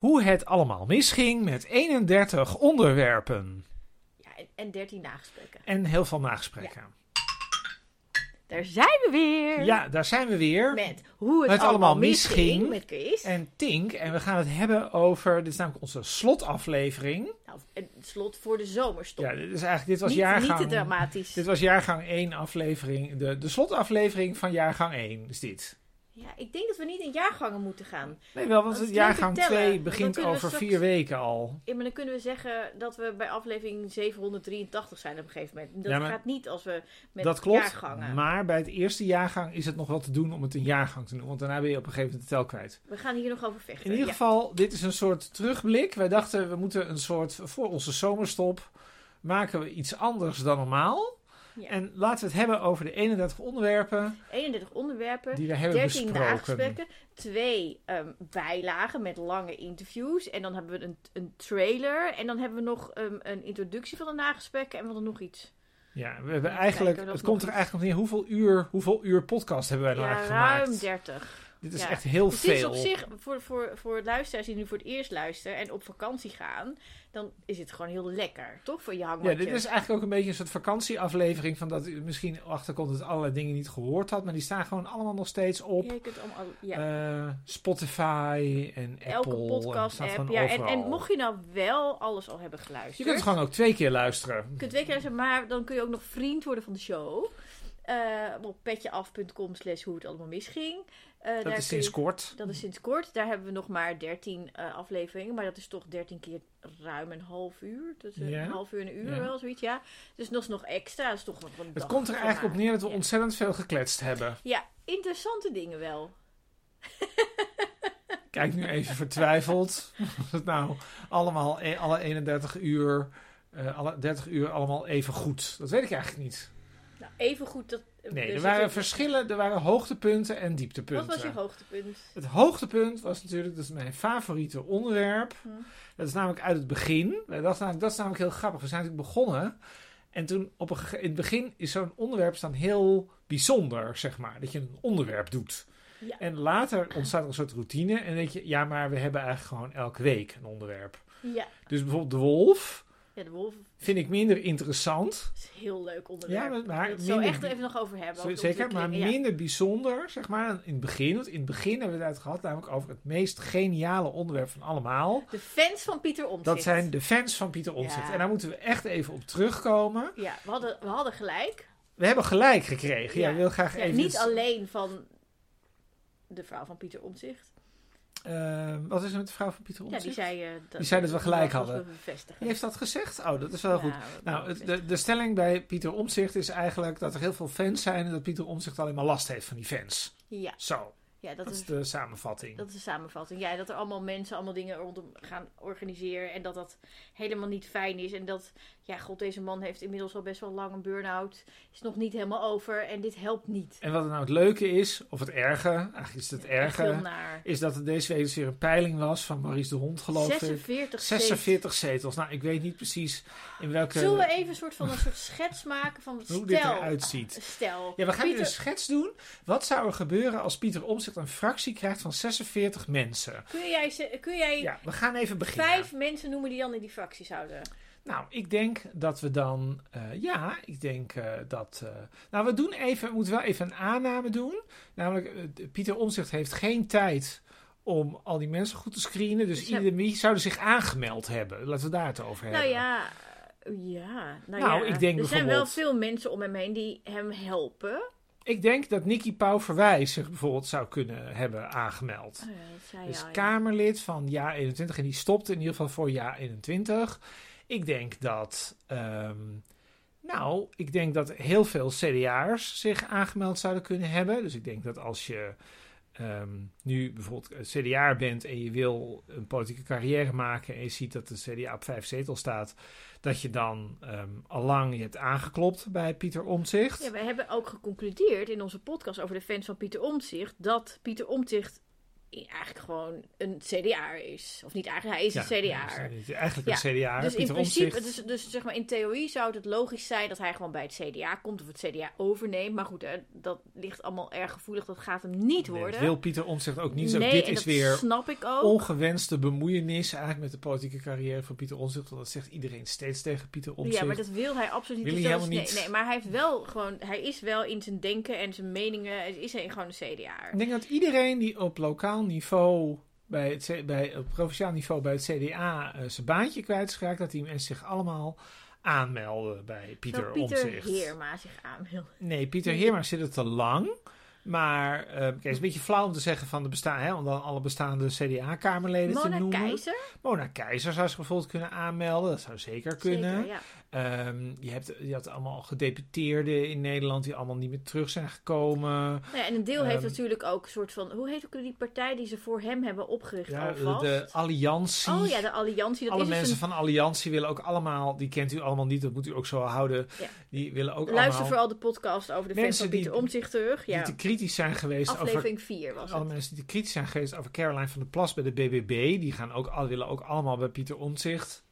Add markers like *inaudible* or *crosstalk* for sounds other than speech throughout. hoe het allemaal misging met 31 onderwerpen. Ja, en- en 13 nagesprekken. En heel veel nagesprekken. Daar zijn we weer! Ja, daar zijn we weer. Met hoe het, Het allemaal allemaal misging, misging. met Chris. En Tink, en we gaan het hebben over. Dit is namelijk onze slotaflevering. Nou, en slot voor de zomerstop. Ja, dit is eigenlijk. Dit was niet, jaargang. niet te dramatisch. Dit was jaargang 1 aflevering. De, de slotaflevering van jaargang 1 is dit. Ja, ik denk dat we niet in jaargangen moeten gaan. Nee, wel, want Als het het leuk jaargang vertellen, 2 dan begint kunnen we over straks- vier weken al. Ja, maar dan kunnen we zeggen dat we bij aflevering 783 zijn op een gegeven moment. Dat Ja, maar- gaat niet als we met dat klopt. jaargangen. Maar bij het eerste jaargang is het nog wat te doen om het een jaargang te noemen. Want daarna ben je op een gegeven moment de tel kwijt. We gaan hier nog over vechten. In ieder Ja. geval, dit is een soort terugblik. Wij dachten, we moeten een soort, voor onze zomerstop, maken we iets anders dan normaal. Ja. En laten we het hebben over de 31 onderwerpen 31 onderwerpen. die we hebben 13 besproken. nagesprekken, twee ehm, bijlagen met lange interviews. En dan hebben we een, een trailer. En dan hebben we nog ehm, een introductie van de nagesprekken. En we hadden nog iets. Ja, we hebben Even eigenlijk, kijken, dat het komt er nog eigenlijk op neer, hoeveel uur, hoeveel uur podcast hebben wij nou ja, eigenlijk ruim gemaakt? 30. Dit is ja. echt heel Dus dit is veel. op zich, voor, voor, voor luisteraars die nu voor het eerst luisteren en op vakantie gaan, dan is het gewoon heel lekker, toch? Voor je ja, hangmatje. dit is eigenlijk ook een beetje een soort vakantieaflevering van dat u misschien achterkomt dat allerlei dingen niet gehoord had, maar die staan gewoon allemaal nog steeds op. Ja, je kunt allemaal, ja. eh, Spotify en eh, Apple. Elke en staat podcast-app. gewoon Ja, en, en overal. mocht dus- je nou wel alles al hebben Je geluisterd. kunt het gewoon ook twee keer luisteren. Je kunt twee keer luisteren, maar dan kun je ook nog vriend worden van de show. Eh, op petjeaf.com slash hoe het allemaal misging. Eh, Dat daar is kun sinds je- kort. dat is sinds kort. Daar hebben we nog maar 13 eh, afleveringen. Maar dat is toch 13 keer ruim een half uur. Dus een Ja. half uur en een uur Ja. wel, zoiets, ja. Dus nog, nog extra. Dat is toch nog een Het dag komt er eigenlijk op gemaakt. neer dat we Ja. ontzettend veel gekletst hebben. Ja, interessante dingen wel. Kijk nu even vertwijfeld. *laughs* Of het nou allemaal, e- alle 31 uur, eh, alle 30 uur allemaal even goed. Dat weet ik eigenlijk niet. Nou, even goed dat... Nee, er zit waren ook- verschillen, er waren hoogtepunten en Wat dieptepunten. was je hoogtepunt? Het hoogtepunt was natuurlijk, dat is mijn favoriete onderwerp. Hm. Dat is namelijk uit het begin. Wij dachten namelijk, dat is namelijk heel grappig. We zijn natuurlijk begonnen. En toen op een gege- in het begin is zo'n onderwerp dan heel bijzonder, zeg maar. Dat je een onderwerp doet. Ja. En later ontstaat er een soort routine. En denk je, ja, maar we hebben eigenlijk gewoon elke week een onderwerp. Ja. Dus bijvoorbeeld de wolf ja, de wolf vind ik minder interessant. is een heel leuk onderwerp. Ja, maar, maar Daar wil ik het minder, zo echt even nog over hebben. zo- over de zeker, maar ontwikkeling. Ja. minder bijzonder, zeg maar, dan in het begin. Want in het begin hebben we het uit gehad, namelijk over het meest geniale onderwerp van allemaal. De fans van Pieter Omtzigt. Dat zijn de fans van Pieter Omtzigt. Ja. En daar moeten we echt even op terugkomen. Ja, we hadden, we hadden gelijk. We hebben gelijk gekregen. Ja, Ja. ik wil graag Ja, even... niet iets- alleen van de vrouw van Pieter Omtzigt. Eh, wat is er met de vrouw van Pieter Ja, Omtzigt? die zei, eh, dat, Die zei dat we gelijk dat hadden. we bevestigen. Wie heeft dat gezegd? Oh, dat is wel goed. Ja, we Nou, het- bevestigen. de, de stelling bij Pieter Omtzigt is eigenlijk dat er heel veel fans zijn... en dat Pieter Omtzigt alleen maar last heeft van die fans. ja, Zo, ja dat, dat is is, de samenvatting. dat is de samenvatting. Ja, dat er allemaal mensen allemaal dingen rondom gaan organiseren. En dat dat helemaal niet fijn is. En dat, ja, god, deze man heeft inmiddels al best wel lang een burn-out. Is nog niet helemaal over. En dit helpt niet. En wat nou het leuke is, of het erge... Eigenlijk is het het Echt heel erge... naar. is dat er deze week dus weer een peiling was van Maurice de Hond, geloof ik. 46 steeds. 46 zetels. Nou, ik weet niet precies in welke... Zullen we even een soort van een soort schets maken van hoe stel, dit eruit ziet. stel. Ja, we gaan dus- nu Pieter, een schets doen. Wat zou er gebeuren als Pieter Omtzigt een fractie krijgt van 46 mensen? kun jij, ze- kun jij Ja, nou. we gaan even beginnen. vijf mensen noemen die dan in die fractie zouden? Nou, ik denk dat we dan... eh, ja, ik denk eh, dat... eh, nou, we doen even... We moeten wel even een aanname doen. Namelijk, eh, Pieter Omtzigt heeft geen tijd om al die mensen goed te screenen. Dus Dus ja. iedereen wie zouden zich aangemeld hebben. Laten we daar het over hebben. Nou ja, eh, ja. Nou, Nou, ja. ik denk er zijn wel bijvoorbeeld- veel veel mensen om hem heen die hem helpen. Ik denk dat Nicky Pauw Verwijs zich bijvoorbeeld zou kunnen hebben aangemeld. Ah, Dus Kamerlid van jaar 21 en die stopte in ieder geval voor jaar 21. Ik denk dat, ehm, nou, ik denk dat heel veel CDA'ers zich aangemeld zouden kunnen hebben. Dus ik denk dat als je ehm, nu bijvoorbeeld eh, CDA'er bent en je wil een politieke carrière maken en je ziet dat de CDA op vijf zetels staat, dat je dan ehm allang je hebt aangeklopt bij Pieter Omtzigt. we hebben ook geconcludeerd in onze podcast over de fans van Pieter Omtzigt dat Pieter Omtzigt eigenlijk gewoon een CDA is. Of niet eigenlijk, hij is Ja, een ja, CDA. is Eigenlijk een CDA. Dus in Pieter principe, Omtzigt. dus, dus zeg maar in theorie zou het het logisch zijn dat hij gewoon bij het CDA komt of het CDA overneemt. Maar goed, hè, dat ligt allemaal erg gevoelig. Dat gaat hem niet Nee, worden. dat wil Pieter Omtzigt ook niet zo. Nee, Dit en is dat weer snap ik ook. ongewenste bemoeienis eigenlijk met de politieke carrière van Pieter Omtzigt. Want dat zegt iedereen steeds tegen Pieter Omtzigt. Ja, maar dat wil hij absoluut niet. Wil Dus hij dat is- helemaal nee, niet. nee, maar hij heeft wel gewoon, hij is wel in zijn denken en zijn meningen, het is hij gewoon een CDA. Ik denk dat iedereen die op lokaal niveau, bij het, C- bij, op provinciaal niveau bij het CDA eh, zijn baantje kwijtschraakt, dat die mensen zich allemaal aanmelden bij Pieter, Pieter Omtzigt. Heerma zich aan wil. Nee, Pieter Nee. Heerma zit het te lang. Maar eh, kijk, het is een beetje flauw om te zeggen van de bestaan, hè, om dan alle bestaande CDA-kamerleden te Mona noemen. Keizer. Mona Keizer zou zich bijvoorbeeld kunnen aanmelden. Dat zou zeker kunnen. Zeker, ja. Ehm, je, hebt, je had allemaal gedeputeerden in Nederland die allemaal niet meer terug zijn gekomen. Nou ja, en een deel heeft Ehm, natuurlijk ook een soort van, hoe heet ook die partij die ze voor hem hebben opgericht Ja, de, alvast? de Alliantie. Oh ja, de Alliantie. Dat alle is dus mensen een van Alliantie willen ook allemaal, die kent u allemaal niet, dat moet u ook zo houden. Ja. Die willen ook Luister allemaal vooral de podcast over de Mensen fans van Pieter die- Omtzigt terug. die Ja, te kritisch zijn geweest over aflevering 4 was Alle het. mensen die kritisch zijn geweest over Caroline van der Plas bij de BBB, die gaan ook, al- willen ook allemaal bij Pieter Omtzigt.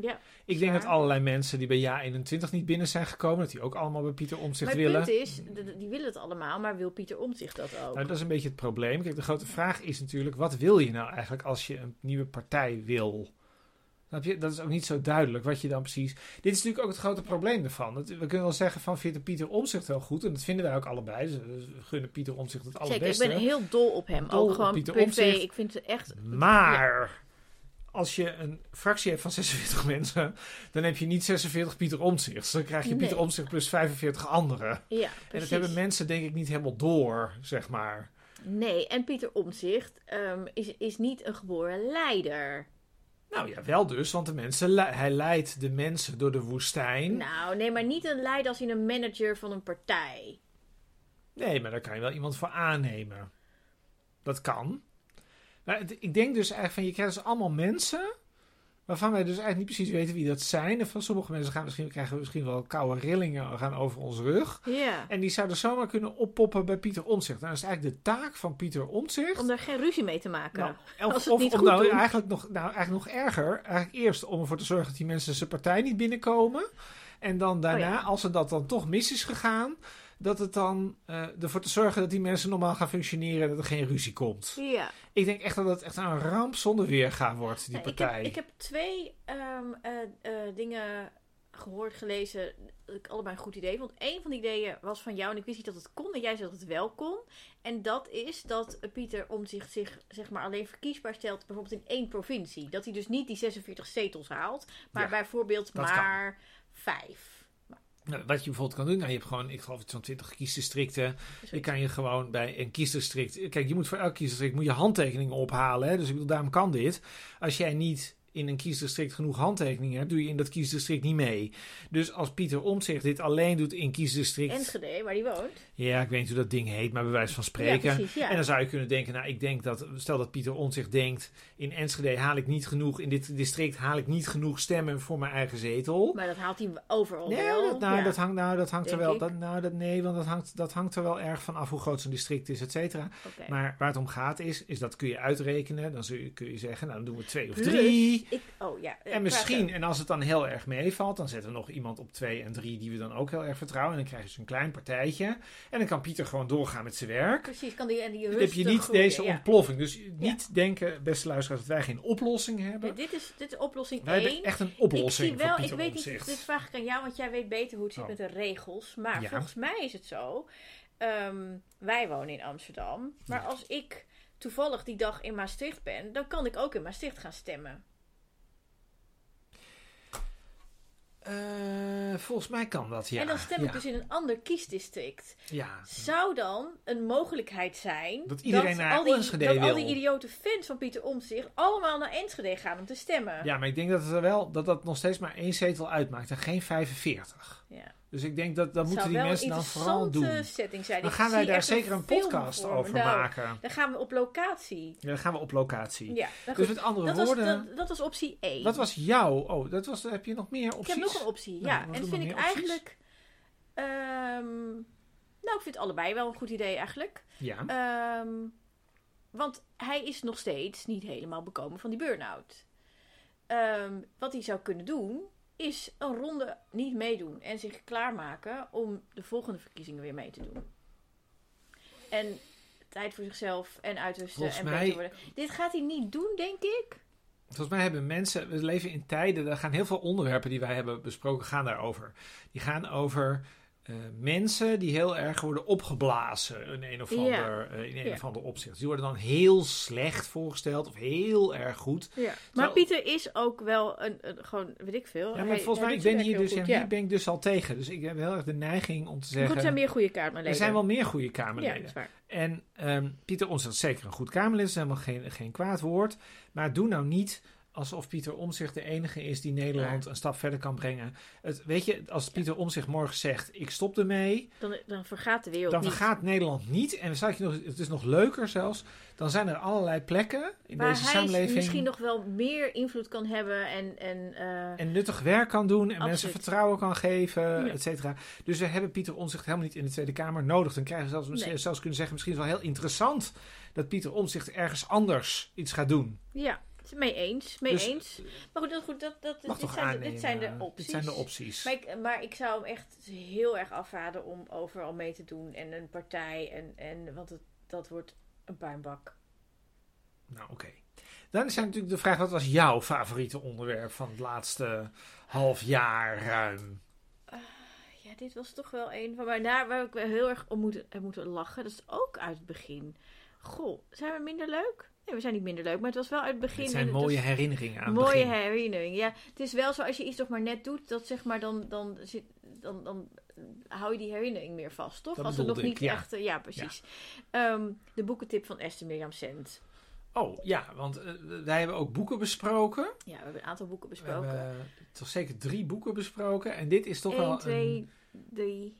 Ja. Ik denk Waar. dat allerlei mensen die bij jaar 21 niet binnen zijn gekomen, dat die ook allemaal bij Pieter Omtzigt Maar het willen. punt is, d- d- die willen het allemaal, maar wil Pieter Omtzigt dat ook? Nou, dat is een beetje het probleem. Kijk, de grote vraag is natuurlijk, wat wil je nou eigenlijk als je een nieuwe partij wil? Snap je? Dat is ook niet zo duidelijk wat je dan precies... Dit is natuurlijk ook het grote probleem ervan. Dat- we kunnen wel zeggen van, vindt Pieter Omtzigt wel goed? En dat vinden wij ook allebei. Dus we gunnen Pieter Omtzigt het Zeker, ik allerbeste. ben heel dol op hem. Dol ook op gewoon Pieter privé. Omtzigt. Ik vind het echt... Maar als je een fractie hebt van 46 mensen, dan heb je niet 46 Pieter Omtzigt. Dan krijg je Nee. Pieter Omtzigt plus 45 anderen. Ja, En dat precies. hebben mensen denk ik niet helemaal door, zeg maar. Nee, en Pieter Omtzigt ehm, is, is niet een geboren leider. Nou ja, wel dus, want de mensen le- hij leidt de mensen door de woestijn. Nou, nee, maar niet een leider als in een manager van een partij. Nee, maar daar kan je wel iemand voor aannemen. Dat kan. Maar het- ik denk dus eigenlijk van, je krijgt dus allemaal mensen... waarvan wij dus eigenlijk niet precies weten wie dat zijn. En van sommige mensen gaan misschien, krijgen misschien wel koude rillingen gaan over ons rug. Ja. En die zouden zomaar kunnen oppoppen bij Pieter Omtzigt. Nou, dat is eigenlijk de taak van Pieter Omtzigt. Om daar geen ruzie mee te maken. Nou, of- als ze het of niet om goed nou doen. eigenlijk, nog, nou, eigenlijk nog erger. Eigenlijk eerst om ervoor te zorgen dat die mensen zijn partij niet binnenkomen. En dan daarna, Oh ja. als er dat dan toch mis is gegaan, dat het dan eh, ervoor te zorgen dat die mensen normaal gaan functioneren en dat er geen ruzie komt. ja. Ik denk echt dat het echt een ramp zonder weerga wordt, die Nou, ik, partij. heb, ik heb twee ehm, eh, eh, dingen gehoord, gelezen, dat ik allebei een goed idee vond. Eén van die ideeën was van jou en ik wist niet dat het kon en jij zei dat het wel kon. En dat is dat Pieter Omtzigt zich zeg maar, alleen verkiesbaar stelt bijvoorbeeld in één provincie. Dat hij dus niet die 46 zetels haalt, maar Ja, bijvoorbeeld dat maar vijf. Nou, wat je bijvoorbeeld kan doen, nou, je hebt gewoon, ik geloof het zo'n 20 kiesdistricten. Dus Je kan je gewoon bij een kiesdistrict. Kijk, je moet voor elk kiesdistrict moet je handtekeningen ophalen. Hè? Dus ik bedoel, daarom kan dit. Als jij niet in een kiesdistrict genoeg handtekeningen hebt, doe je in dat kiesdistrict niet mee. Dus als Pieter Omtzigt dit alleen doet in kiesdistrict. Enschede, waar die woont. Ja, ik weet niet hoe dat ding heet, maar bij wijze van spreken. Ja, precies, ja. En dan zou je kunnen denken, nou, ik denk dat, stel dat Pieter Omtzigt denkt, in Enschede haal ik niet genoeg, in dit district haal ik niet genoeg stemmen voor mijn eigen zetel. Maar dat haalt hij overal Nee, wel. dat, nou, Ja. dat hangt, nou, dat hangt er Denk wel. ik. Dat, nou, dat, nee, want dat hangt, dat hangt er wel erg van af hoe groot zo'n district is, et cetera. Oké. Maar waar het om gaat is, is dat kun je uitrekenen. Dan zul je, kun je zeggen, nou, dan doen we twee of Plus, drie. Dus ik, oh, ja, eh, En misschien, praten. en als het dan heel erg meevalt, dan zetten we nog iemand op twee en drie die we dan ook heel erg vertrouwen. En dan krijg je zo'n klein partijtje. En dan kan Pieter gewoon doorgaan met zijn werk. Precies, kan die, en die Dan heb je rustig niet groeien, deze ja. ontploffing. Dus niet denken, beste luisteraars, dat wij geen oplossing Nee, hebben. dit, is, dit is oplossing Wij hebben 1. echt een Ik zie oplossing wel, voor ik Pieter weet niet, Omtzigt. dit vraag ik aan jou, want jij weet beter hoe het zit Oh. met de regels. Maar Ja. volgens mij is het zo, ehm, wij wonen in Amsterdam. Maar Ja. als ik toevallig die dag in Maastricht ben, dan kan ik ook in Maastricht gaan stemmen. Eh, volgens mij kan dat, ja. en dan stem ik Ja. dus in een ander kiesdistrict. Ja, Zou dan een mogelijkheid zijn Dat iedereen naar al die, Enschede dat al wil? die idiote fans van Pieter Omtzigt allemaal naar Enschede gaan om te stemmen? ja maar ik denk dat, het er wel, dat dat nog steeds maar één zetel uitmaakt en geen 45. Ja. Dus ik denk dat dat moeten zou die wel mensen een dan vooral doen. interessante setting zijn. Dan Ik gaan wij zie daar echt een zeker een film podcast voor me. over Nou, maken. Dan gaan we op locatie. Ja, dan gaan we op locatie. Ja, nou dus goed. met andere dat, was, woorden, dat, dat was optie 1. wat was jouw... Oh, dat was, heb je nog meer ik opties? heb nog een optie, Nou, ja. wat en dat doen we vind ik meer opties? eigenlijk... ehm, nou, ik vind allebei wel een goed idee eigenlijk. Ja, Ehm, Want hij is nog steeds niet helemaal bekomen van die burn-out. Ehm, wat hij zou kunnen doen, is een ronde niet meedoen en zich klaarmaken om de volgende verkiezingen weer mee te doen. En tijd voor zichzelf en uitrusten Volgens en mij- beter worden. Dit gaat hij niet doen, denk ik. Volgens mij hebben mensen, we leven in tijden, daar gaan heel veel onderwerpen die wij hebben besproken, gaan daarover. Die gaan over eh, mensen die heel erg worden opgeblazen in een of Ja. ander, eh, in een Ja. of ander opzicht. Die worden dan heel slecht voorgesteld of heel erg goed. Maar Zo- Pieter is ook wel een, een- gewoon, weet ik veel. Ja, maar Hij- volgens mij, hij ik doet zijn ben hier werk dus, heel en goed, hier ben ik dus al tegen. Dus ik heb heel erg de neiging om te ja. Goed, zeggen, er zijn meer goede kaartmalen. er zijn wel meer goede ja, Kamerleden. dat is waar. En ehm, Pieter Omtzigt is zeker een goed Kamerlid, is helemaal geen, geen kwaad woord. Maar doe nou niet alsof Pieter Omtzigt de enige is die Nederland een stap verder kan brengen. Het, weet je, als Pieter Omtzigt morgen zegt, ik stop ermee, Dan, dan vergaat de wereld dan niet. vergaat Nederland niet. En dan staat je nog, het is nog leuker zelfs, dan zijn er allerlei plekken in Waar deze hij samenleving... misschien nog wel meer invloed kan hebben en... en eh, En nuttig werk kan doen en mensen Absoluut. vertrouwen kan geven, Ja. et cetera. Dus we hebben Pieter Omzicht helemaal niet in de Tweede Kamer nodig. Dan krijgen we zelfs, Nee. zelfs kunnen zeggen, misschien is het wel heel interessant dat Pieter Omzicht ergens anders iets gaat doen. Ja, het is mee eens. Mee Dus- eens. Maar goed, dat, goed dat, dat, Mag Dus dit, toch zijn, de- aannemen. eh, dit zijn de opties. Dit zijn de opties. Maar ik, maar ik zou hem echt heel erg afraden om overal mee te doen. En een partij. En, en, want het, dat wordt een puinbak. Nou, oké. Dan is natuurlijk de vraag, wat was jouw favoriete onderwerp van het laatste half jaar ruim? Ja, dit was toch wel een van mijn... Daar waar ik wel heel erg om moeten, heb moeten lachen. Dat is ook uit het begin. Goh, zijn we minder leuk? Nee, we zijn niet minder leuk. Maar het was wel uit het begin... Dit zijn en het mooie was- herinneringen aan het Mooie begin. herinnering. Ja, het is wel zo als je iets nog maar net doet, dat zeg maar dan, dan, zit, dan, dan hou je die herinnering meer vast, toch? Dat als bedoelde nog ik, niet ja. echt. eh, Ja, precies. Ehm, de boekentip van Esther Mirjam Cent. Oh, ja, want eh, wij hebben ook boeken besproken. Ja, we hebben een aantal boeken We besproken. hebben eh, toch zeker drie boeken besproken. En dit is toch wel 1, een... 2, 3,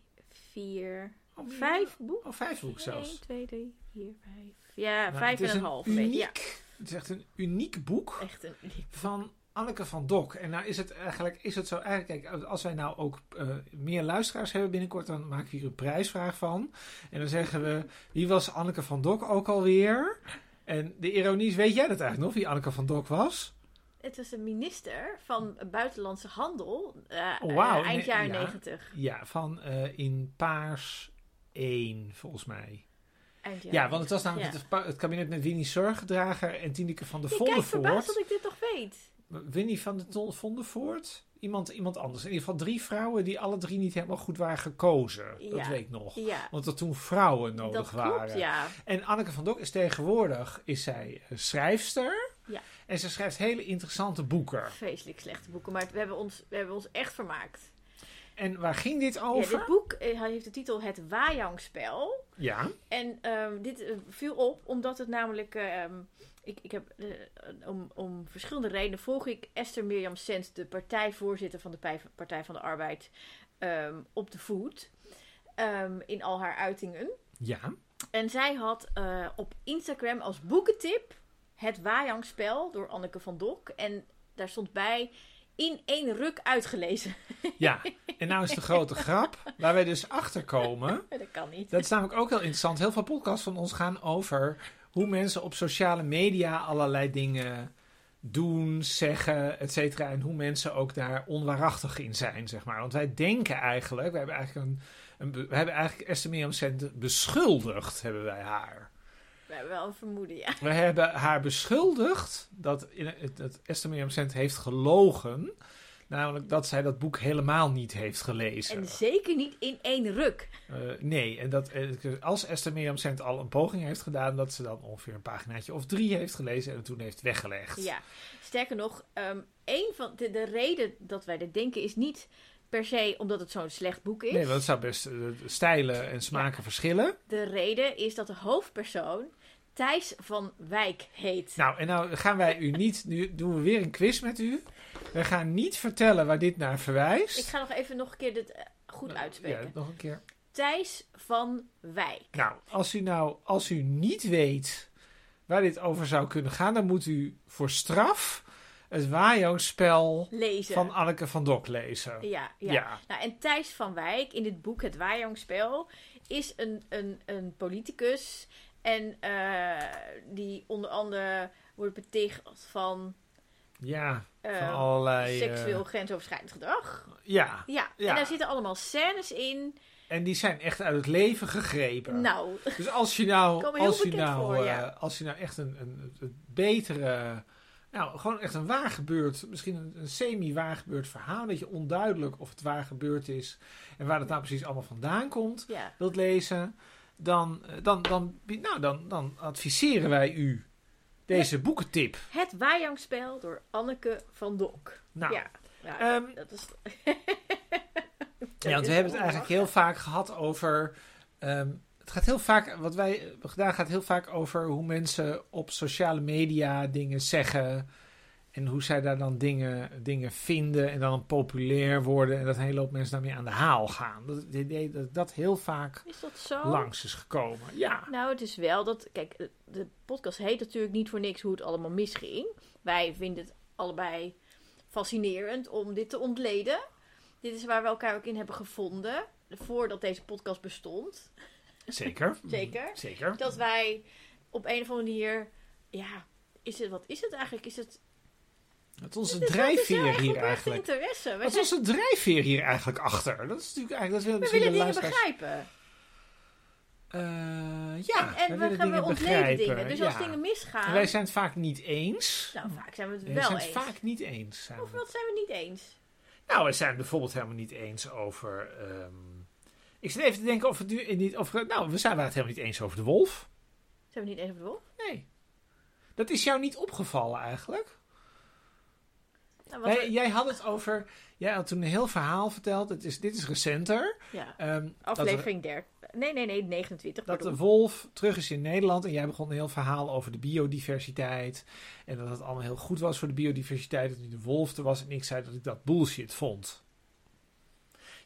4, Oh, 5 boeken. Oh, vijf boeken zelfs. 1, 2, 3, 4, 5. Ja, Nou, vijf het is en een een half. weet je. Uniek, Ja, Het is echt een uniek boek echt een uniek. van Anneke van Dok. En nou is het eigenlijk is het zo, eigenlijk, kijk, als wij nou ook eh, meer luisteraars hebben binnenkort, dan maken we hier een prijsvraag van. En dan zeggen we, wie was Anneke van Dok ook alweer? En de ironie is, weet jij dat eigenlijk nog, wie Anneke van Dok was? Het was een minister van Buitenlandse Handel eh, Oh, wauw. eh, eind Nee, jaren ja. 90. Ja, van eh, in Paars 1, volgens mij. Eind Ja, jaren want het was namelijk Ja. het, het kabinet met Winnie Zorgdrager en Tineke van der Ik kijk Vondelvoort. verbaasd dat ik dit nog weet. Winnie van de Tol Vondenvoort? Iemand, iemand anders. In ieder geval drie vrouwen die alle drie niet helemaal goed waren gekozen. Dat Ja. weet ik nog. Ja, Want er toen vrouwen nodig dat waren. klopt, ja. En Anneke van Dok is tegenwoordig is zij eh, schrijfster. Ja. En ze schrijft hele interessante boeken. Vreselijk slechte boeken, maar het- we hebben ons, we hebben ons echt vermaakt. En waar ging dit Ja, over? dit boek eh, hij heeft de titel Het Wajangspel. Ja. En ehm, dit eh, viel op omdat het namelijk... ehm, ik, ik heb, eh, om, om verschillende redenen volg ik Esther Mirjam Sent, de partijvoorzitter van de Pij- Partij van de Arbeid, ehm, op de voet. ehm, in al haar uitingen. Ja. En zij had eh, op Instagram als boekentip het Wajangspel door Anneke van Dok. En daar stond bij in één ruk uitgelezen. *laughs* ja. En nou is de grote grap, waar wij dus achter komen. dat kan niet. Dat is namelijk ook heel interessant. Heel veel podcasts van ons gaan over hoe mensen op sociale media allerlei dingen doen, zeggen, et cetera. En hoe mensen ook daar onwaarachtig in zijn, zeg maar. Want wij denken eigenlijk, we hebben eigenlijk, een, een, be- we hebben eigenlijk Esther Mirjam Cent beschuldigd, hebben wij haar. We hebben wel een vermoeden, ja. We hebben haar beschuldigd dat, in, dat Esther Mirjam Cent heeft gelogen. Namelijk dat zij dat boek helemaal niet heeft gelezen. En zeker niet in één ruk. Eh, nee, en dat, eh, als Esther Mirjam Cent al een poging heeft gedaan, dat ze dan ongeveer een paginaatje of drie heeft gelezen en het toen heeft weggelegd. Ja. Sterker nog, ehm één van de, de reden dat wij dit denken is niet per se omdat het zo'n slecht boek is. Nee, want het zou best eh, stijlen en smaken verschillen. De reden is dat de hoofdpersoon Thijs van Wijk heet. Nou, en nou gaan wij u niet, nu doen we weer een quiz met u. We gaan niet vertellen waar dit naar verwijst. Ik ga nog even nog een keer dit eh, goed uitspreken. Nou, Ja, nog een keer. Thijs van Wijk. Nou, als u nou, als u niet weet waar dit over zou kunnen gaan, dan moet u voor straf het Wajo-spel Lezen. van Anneke van Dok lezen. Ja, ja. ja. Nou, en Thijs van Wijk in dit boek Het Waaijongspel is een, een, een politicus En eh, die onder andere wordt beticht van Ja, eh, van allerlei... eh, seksueel grensoverschrijdend gedrag. ja, Ja. Ja. en daar zitten allemaal scènes in. en die zijn echt uit het leven gegrepen. Nou, Dus als je nou, Komen heel als je bekend nou, eh, voor, ja. als je nou echt een, een, een betere, nou gewoon echt een waargebeurd, misschien een, een semi-waargebeurd verhaal, dat je onduidelijk of het waargebeurd is en waar het nou precies allemaal vandaan komt, ja. wilt lezen, dan, eh, dan, dan, bied- nou, dan, dan adviseren wij u deze boekentip. Het Wajangspel door Anneke van Dok. Nou, ja. Ja, ehm, dat is... Ja, want we hebben het eigenlijk heel vaak gehad over. ehm, het gaat heel vaak, wat wij hebben gedaan, gaat heel vaak over hoe mensen op sociale media dingen zeggen. En hoe zij daar dan dingen, dingen vinden en dan populair worden. En dat een hele hoop mensen daarmee aan de haal gaan. Dat het idee dat dat heel vaak Is dat zo? langs is gekomen. Ja. Nou, het is wel dat. Kijk, eh, de podcast heet natuurlijk niet voor niks hoe het allemaal misging. Wij vinden het allebei fascinerend om dit te ontleden. Dit is waar we elkaar ook in hebben gevonden. Voordat deze podcast bestond, Zeker. *laughs* zeker. Zeker. Dat wij op een of andere manier. Ja, is het, wat is het eigenlijk? Is het. Dat is onze het is- Dus dat is drijfveer heel erg hier oprechte eigenlijk. interesse. Wij Wat is onze drijfveer hier eigenlijk achter? Dat is natuurlijk eigenlijk. Dat willen we misschien willen de dingen luisteraars- begrijpen. Eh, ja, en en willen we, gaan we dingen ontleden begrijpen, dingen. Dus ja. als dingen En misgaan. wij zijn het vaak niet eens. Nou, vaak zijn we het we wel zijn het eens. vaak niet eens. Zijn we. Of wat zijn we niet eens? Nou, we zijn het bijvoorbeeld helemaal niet eens over. ehm, ik zit even te denken of het nu niet. Of, nou, we zijn het helemaal niet eens over de wolf. Zijn we niet eens op de wolf? Nee. Dat is jou niet opgevallen eigenlijk. Nou, wat Wij- jij had het over. Jij had toen een heel verhaal verteld. Het is, dit is recenter. we- ja. ehm, dat er- Aflevering 30. Nee, nee, nee, 29. Dat de pardon. wolf terug is in Nederland. En jij begon een heel verhaal over de biodiversiteit. En dat het allemaal heel goed was voor de biodiversiteit. Dat nu de wolf er was. En ik zei dat ik dat bullshit vond.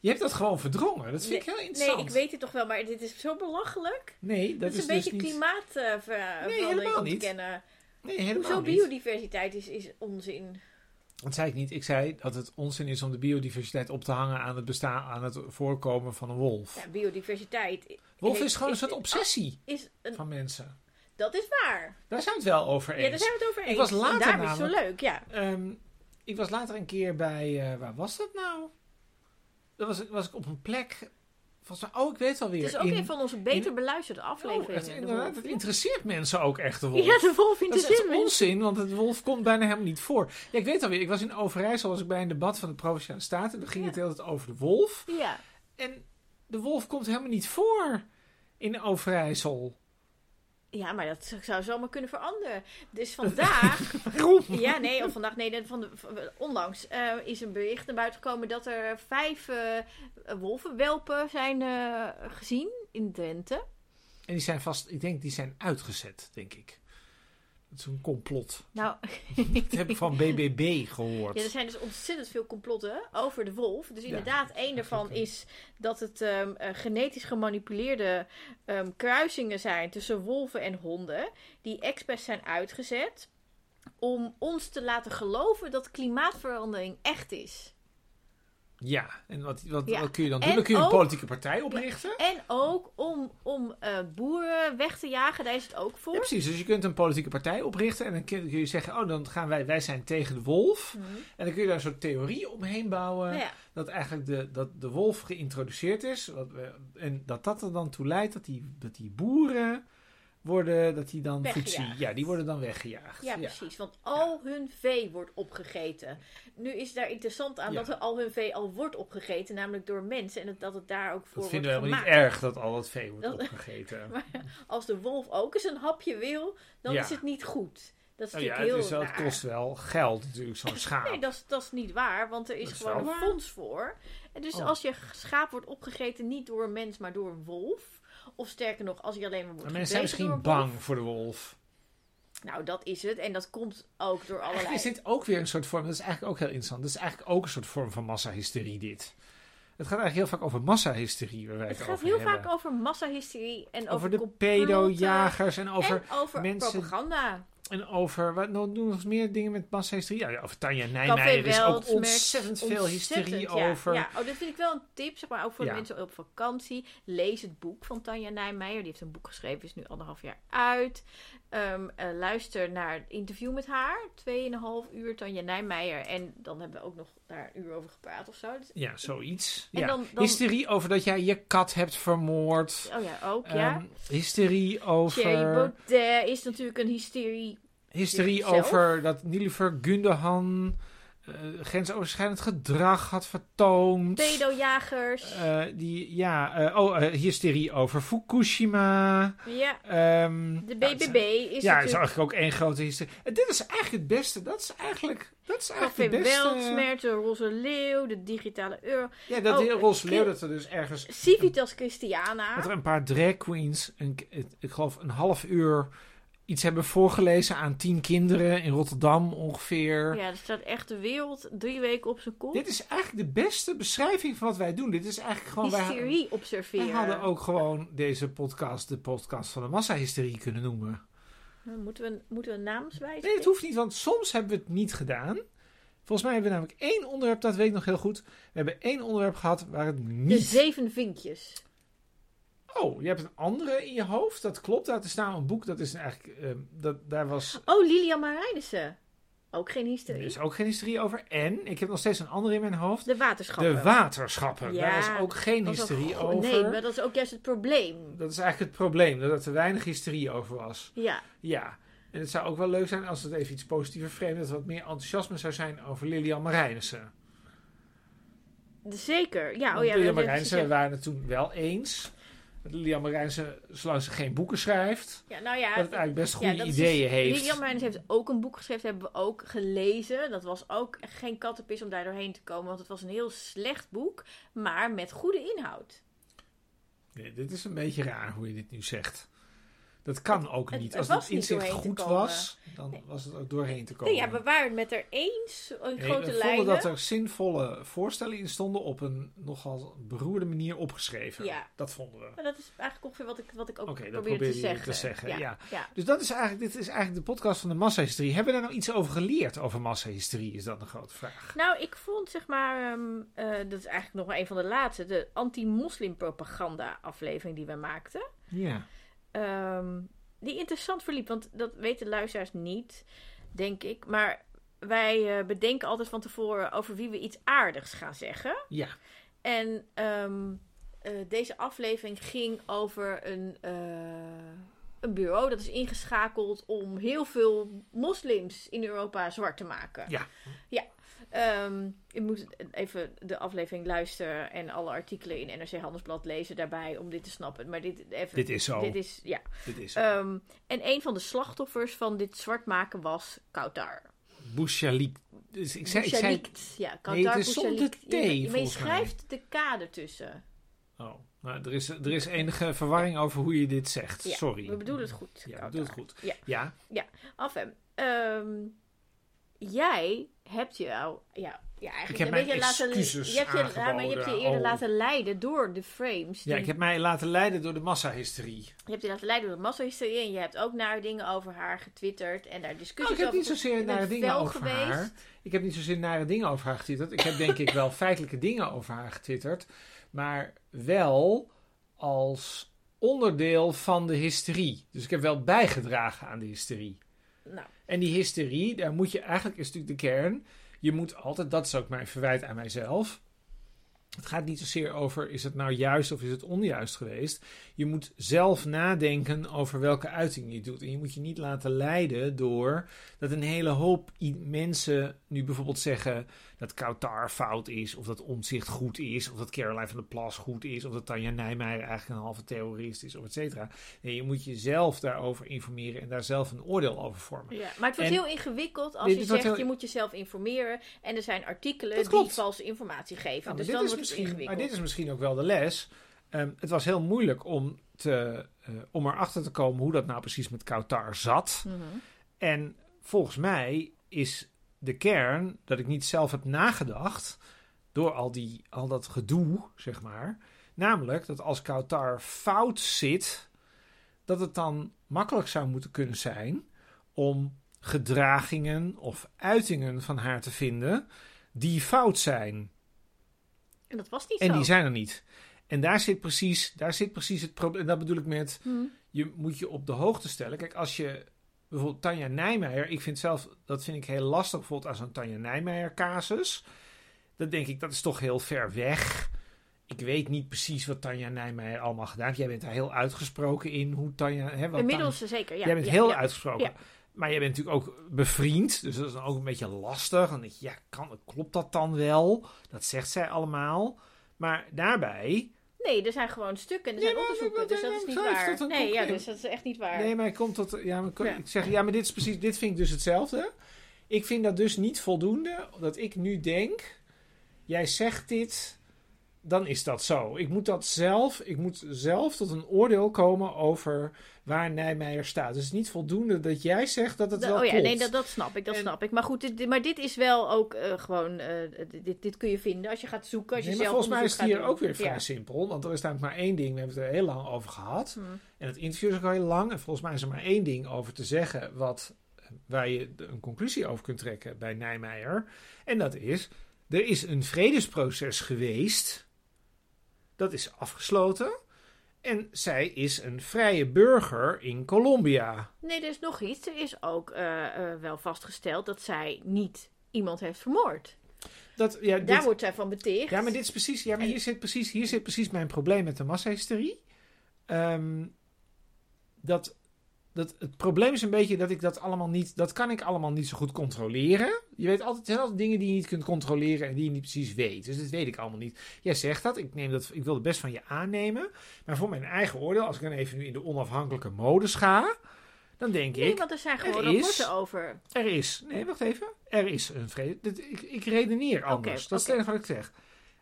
Je hebt dat gewoon verdrongen. Dat vind ik heel interessant. Nee, ik weet het toch wel, maar dit is zo belachelijk. Nee, dat, Dat, is een dus beetje eh, niet... klimaatverandering helemaal niet. ontkennen. Nee, helemaal Hoezo niet. biodiversiteit is, is onzin. Dat zei ik niet. Ik zei dat het onzin is om de biodiversiteit op te hangen aan het, bestaan, aan het voorkomen van een wolf. Ja, biodiversiteit wolf heeft- is gewoon een is- soort obsessie is Ah, een... van mensen. Dat is waar. Daar zijn we het wel over eens. Ja, daar zijn we het over eens. was later En daarom is het zo namelijk- leuk, ja. Ehm, ik was later een keer bij. eh, waar was dat nou? Dat was, was ik op een plek. Volgens mij, oh, ik weet alweer. Het is ook een van onze beter beluisterde oh, afleveringen. het, de inderdaad, wolf. het interesseert mensen ook echt de wolf. *laughs* Ja, de wolf in dat de is echt zin. onzin, want het wolf komt bijna helemaal niet voor. Ja, ik weet alweer, ik was in Overijssel, was ik bij een debat van de Provinciale Staten. En dan ging Ja. het de hele tijd over de wolf. Ja, En de wolf komt helemaal niet voor in Overijssel. ja, maar dat zou zomaar kunnen veranderen. *laughs* Dus vandaag Waarom? Ja, nee, of vandaag, nee, van de, van- onlangs eh, is een bericht naar buiten gekomen dat er vijf eh, wolvenwelpen zijn eh, gezien in Drenthe. En die zijn vast, ik denk, die zijn uitgezet, denk ik. Dat is een complot. Nou, Dat heb *laughs* ik van BBB gehoord. ja, er zijn dus ontzettend veel complotten over de wolf. Dus Ja, inderdaad, één daarvan klopt, ja. is dat het ehm, eh, genetisch gemanipuleerde ehm, kruisingen zijn tussen wolven en honden, die experts zijn uitgezet om ons te laten geloven dat klimaatverandering echt is. Ja, en wat, wat, Ja. wat kun je dan En doen? Dan kun je een ook- politieke partij oprichten. Ja. En ook om, om eh, boeren weg te jagen, daar is het ook voor. precies. Dus je kunt een politieke partij oprichten en dan kun kun je zeggen, oh, dan gaan wij, wij zijn tegen de wolf. Mhm. En dan kun je daar een soort theorie omheen bouwen, Nou ja, dat eigenlijk de, dat de wolf geïntroduceerd is. Wat, we- en dat dat er dan toe leidt dat die, dat die boeren worden, dat die dan Weggejaagd. voetzie, ja, die worden dan weggejaagd. ja, precies. Want al hun vee wordt opgegeten. Nu is daar interessant aan Ja. dat er al hun vee al wordt opgegeten, namelijk door mensen. En dat- dat het daar ook voor Dat wordt vinden we helemaal gemaakt. niet erg, dat al dat vee wordt Dat- *laughs* opgegeten. Nou Als de wolf ook eens een hapje wil, dan Ja. is het niet goed. Dat is Nou ja, natuurlijk het, heel is wel, het raar. kost wel geld natuurlijk, zo'n schaap. *laughs* Nee, dat is, dat is niet waar, want er is, Dat is gewoon wel een waar. fonds voor. En dus Oh. als je schaap wordt opgegeten, niet door een mens, maar door een wolf. Of sterker nog, als je alleen maar wordt Maar mensen zijn gebeten door misschien een wolf. bang voor de wolf. Nou, dat is het. En dat komt ook door allerlei... Eigenlijk is dit ook weer een soort vorm, dat is eigenlijk ook heel interessant. Dat is eigenlijk ook een soort vorm van massahysterie, dit. Het gaat eigenlijk heel vaak over massahysterie, waar wij het het, gaat over heel hebben. vaak over massahysterie en over, over de complotten pedojagers en over... en over mensen- propaganda. En over, wat nou, doen we nog meer dingen met massahysterie? Ja, ja, over Tanja Nijmeijer is ook Weld merkt ontzettend veel ontzettend, hysterie ja, over. Ja, oh, dat vind ik wel een tip, zeg maar, ook voor de Ja. mensen op vakantie. Lees het boek van Tanja Nijmeijer. Die heeft een boek geschreven, is nu anderhalf jaar uit. Ehm, eh, luister naar het interview met haar. Tweeënhalf uur Tanja Nijmeijer. En dan hebben we ook nog daar een uur over gepraat of zo. Dus- Ja, zoiets. En Ja. dan- dan- Hysterie over dat jij je kat hebt vermoord. oh ja, ook, ja. Ehm, hysterie Jay over... Baudet is natuurlijk een hysterie. Hysterie zelf. over dat Nilufer Gundogan eh, grensoverschrijdend gedrag had vertoond. Pedojagers. Eh, die, ja, eh, oh, eh, hysterie over Fukushima. ja. Ehm, De ja, het BBB zijn- is Ja, het is natuurlijk... eigenlijk ook één grote hysterie. En dit is eigenlijk het beste. Dat is eigenlijk, dat is Café eigenlijk het beste. Weltsmert, de Roze Leeuw, de digitale euro. Ja, dat Oh, die roze eh, leeuw ki- dat er dus ergens... Civitas Christiana. Dat er een paar drag queens, een, ik geloof een half uur, iets hebben voorgelezen aan tien kinderen in Rotterdam ongeveer. Ja, er staat echt de wereld drie weken op zijn kop. Dit is eigenlijk de beste beschrijving van wat wij doen. Dit is eigenlijk gewoon... wij- Hysterie observeren. Wij hadden ook gewoon deze podcast de podcast van de massahysterie kunnen noemen. Moeten we, moeten we een naamswijze? Nee, dat hoeft niet, want soms hebben we het niet gedaan. Volgens mij hebben we namelijk één onderwerp, dat weet ik nog heel goed. We hebben één onderwerp gehad waar het De niet... zeven vinkjes. Oh, je hebt een andere in je hoofd, dat klopt. Dat is namelijk een boek, dat is eigenlijk... ehm, dat, daar was... Oh, Lilian Marijnissen. Ook geen Er hysterie. is ook geen hysterie over. En, ik heb nog steeds een andere in mijn hoofd. De waterschappen. De waterschappen. Ja, daar was ook geen Dat is een hysterie go- over. Nee, maar dat is ook juist het probleem. Dat is eigenlijk het probleem, dat er weinig hysterie over was. Ja, Ja, en het zou ook wel leuk zijn als het even iets positiever vreemd, dat er wat meer enthousiasme zou zijn over Lilian Marijnissen. de- zeker. oh Ja, Want oh ja, Lilian dat- dat- Marijnissen waren het toen wel eens. Dat Lilian Marijnissen, zolang ze geen boeken schrijft, Ja, nou dat ja. het eigenlijk best goede ja, dat is dus ideeën heeft. Lilian Marijnissen heeft ook een boek geschreven, hebben we ook gelezen. Dat was ook echt geen kattenpis om daar doorheen te komen, want het was een heel slecht boek, maar met goede inhoud. Nee, dit is een beetje raar hoe je dit nu zegt. Dat kan ook het- niet. het Als was het niet inzicht doorheen te goed komen. was, dan Nee. was het ook doorheen te komen. Nee, ja, we waren het met haar eens in Nee, grote we vonden lijnen. dat eh, er zinvolle voorstellen in stonden op een nogal beroerde manier opgeschreven. Ja. Dat vonden we. Maar dat is eigenlijk ongeveer wat ik, wat ik ook Oké, dat probeerde probeerde te je zeggen. te zeggen, ja. ja. Dus dat is eigenlijk, dit is eigenlijk de podcast van de massahysterie. Hebben we daar nou iets over geleerd over massahysterie? Is dat een grote vraag. Nou, ik vond zeg maar, ehm, eh, dat is eigenlijk nog maar een van de laatste, de anti-moslim propaganda aflevering die we maakten. Ja. ehm, die interessant verliep. Want dat weten luisteraars niet, denk ik. Maar wij eh, bedenken altijd van tevoren over wie we iets aardigs gaan zeggen. Ja. En ehm, eh, deze aflevering ging over een, eh, een bureau dat is ingeschakeld om heel veel moslims in Europa zwart te maken. Ja. Ja. Ehm, je moet even de aflevering luisteren en alle artikelen in NRC Handelsblad lezen daarbij om dit te snappen. Maar dit, even, Dit is zo. Dit is, ja. Dit is Ehm, en een van de slachtoffers van dit zwart maken was Kautar. Bouchalik. Dus ik zei, ik zei, Bouchalikt. Ja, Kautar Nee, het is zonder Bouchalikt. T, Ja, maar- maar je volgens mij. schrijft de K ertussen. oh, nou, er, is, er is enige verwarring over hoe je dit zegt. Ja, Sorry. We bedoelen het goed. Ja, we Kautar. bedoelen het goed. Ja. Ja, Af hem. Ehm, jij hebt je al. Ja, ja, eigenlijk Ik heb een mijn beetje laten, excuses je hebt je, ja, maar je hebt je aangeboden, eerder oh. laten leiden door de frames. ja, die- ik heb mij laten leiden door de massahysterie. Je hebt je laten leiden door de massahysterie. En je hebt ook naar dingen over haar getwitterd. En daar Nou, ik discussies heb over. niet zozeer bent nare dingen fel over geweest. haar. Ik heb niet zozeer nare dingen over haar getwitterd. Ik heb denk ik wel *laughs* feitelijke dingen over haar getwitterd. Maar wel als onderdeel van de hysterie. Dus ik heb wel bijgedragen aan de hysterie. Nou, En die hysterie, daar moet je eigenlijk, is natuurlijk de kern. Je moet altijd, dat is ook mijn verwijt aan mijzelf. Het gaat niet zozeer over is het nou juist of is het onjuist geweest. Je moet zelf nadenken over welke uiting je doet. En je moet je niet laten leiden door dat een hele hoop i- mensen nu bijvoorbeeld zeggen dat Kautar fout is, of dat Omzicht goed is, of dat Caroline van der Plas goed is, of dat Tanja Nijmeijer eigenlijk een halve terrorist is, of et cetera. Nee, je moet jezelf daarover informeren en daar zelf een oordeel over vormen. ja. Maar het wordt En- heel ingewikkeld als Dit- je dit zegt wordt heel- je moet jezelf informeren. En er zijn artikelen Dat die klopt. valse informatie geven. Ja, maar Nou, dus dit dan is wordt het misschien- ingewikkeld. Maar dit is misschien ook wel de les. Ehm, het was heel moeilijk om, te, eh, om erachter te komen hoe dat nou precies met Kautar zat. Mhm. En volgens mij is de kern dat ik niet zelf heb nagedacht door al, die, al dat gedoe, zeg maar. Namelijk dat als Kautar fout zit, dat het dan makkelijk zou moeten kunnen zijn om gedragingen of uitingen van haar te vinden die fout zijn. En dat was niet En zo. die zijn er niet. En daar zit precies, daar zit precies het probleem. En dat bedoel ik met Hm. je moet je op de hoogte stellen. Kijk, als je bijvoorbeeld Tanja Nijmeijer, ik vind zelf, dat vind ik heel lastig bijvoorbeeld aan zo'n Tanja Nijmeijer casus. Dan denk ik, dat is toch heel ver weg. Ik weet niet precies wat Tanja Nijmeijer allemaal gedaan heeft. Jij bent daar heel uitgesproken in hoe Tanja... Hè, wat Inmiddels eh, zeker, ja. jij bent ja, heel ja. uitgesproken. Ja. Maar jij bent natuurlijk ook bevriend. Dus dat is dan ook een beetje lastig. Dan denk je, ja, kan, klopt dat dan wel? Dat zegt zij allemaal. Maar daarbij... Nee, er zijn gewoon stukken en Nee, er zijn maar onderzoeken, wat- dus dat is wat- niet wat heeft dat waar. dan Nee, ja, concreet? dus dat is echt niet waar. Nee, maar ik kom tot... Ja, maar ik, Ja. ik zeg, ja, maar dit is precies... Dit vind ik dus hetzelfde. Ik vind dat dus niet voldoende. Dat ik nu denk... Jij zegt dit... Dan is dat zo. Ik moet dat zelf... Ik moet zelf tot een oordeel komen over waar Nijmeijer staat. Dus het is niet voldoende dat jij zegt dat het Da- wel oh ja, klopt. nee, dat, dat snap ik, dat En- snap ik. Maar goed, dit- dit, maar dit is wel ook eh, gewoon, eh, dit, dit kun je vinden als je gaat zoeken, als je Nee, maar zelf volgens mij is onderzoek het hier gaat ook doen. weer vrij simpel. Want er is namelijk maar één ding. We hebben het er heel lang over gehad. Ja. Hm. En het interview is ook al heel lang. En volgens mij is er maar één ding over te zeggen. Wat, eh, waar je de- een conclusie over kunt trekken bij Nijmeijer. En dat is. Er is een vredesproces geweest. Dat is afgesloten. En zij is een vrije burger in Colombia. Nee, er is nog iets. Er is ook eh, eh, wel vastgesteld dat zij niet iemand heeft vermoord. Dat, ja, Daar Eh, dit, wordt zij van beticht. ja, maar dit is precies. Ja, maar hier zit precies, hier zit precies mijn probleem met de massahysterie. Ehm, dat, dat het probleem is een beetje dat ik dat allemaal niet. Dat kan ik allemaal niet zo goed controleren. Je weet altijd, er zijn altijd dingen die je niet kunt controleren en die je niet precies weet. Dus dat weet ik allemaal niet. Jij zegt dat. Ik, neem dat, ik wil het best van je aannemen. Maar voor mijn eigen oordeel, als ik dan even nu in de onafhankelijke modus ga. Dan denk Nee, ik, want er zijn gewoon Er is- rapporten over. er is. Nee, wacht even. Er is een vrede. dit- Ik, ik redeneer anders. dat is het oké. enige wat ik zeg.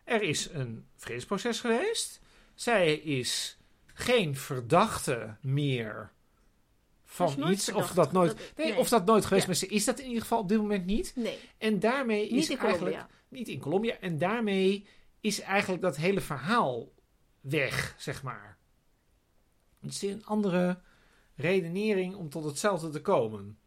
Er is een vredesproces geweest. Zij is geen verdachte meer van Ze is nooit iets. Of verdacht. dat nooit. Dat- nee, nee. of dat nooit geweest Ja. maar ze is dat in ieder geval op dit moment niet. Nee, En daarmee is niet in eigenlijk. Colombia. Niet in Colombia. En daarmee is eigenlijk dat hele verhaal weg, zeg maar. Het is een andere redenering om tot hetzelfde te komen.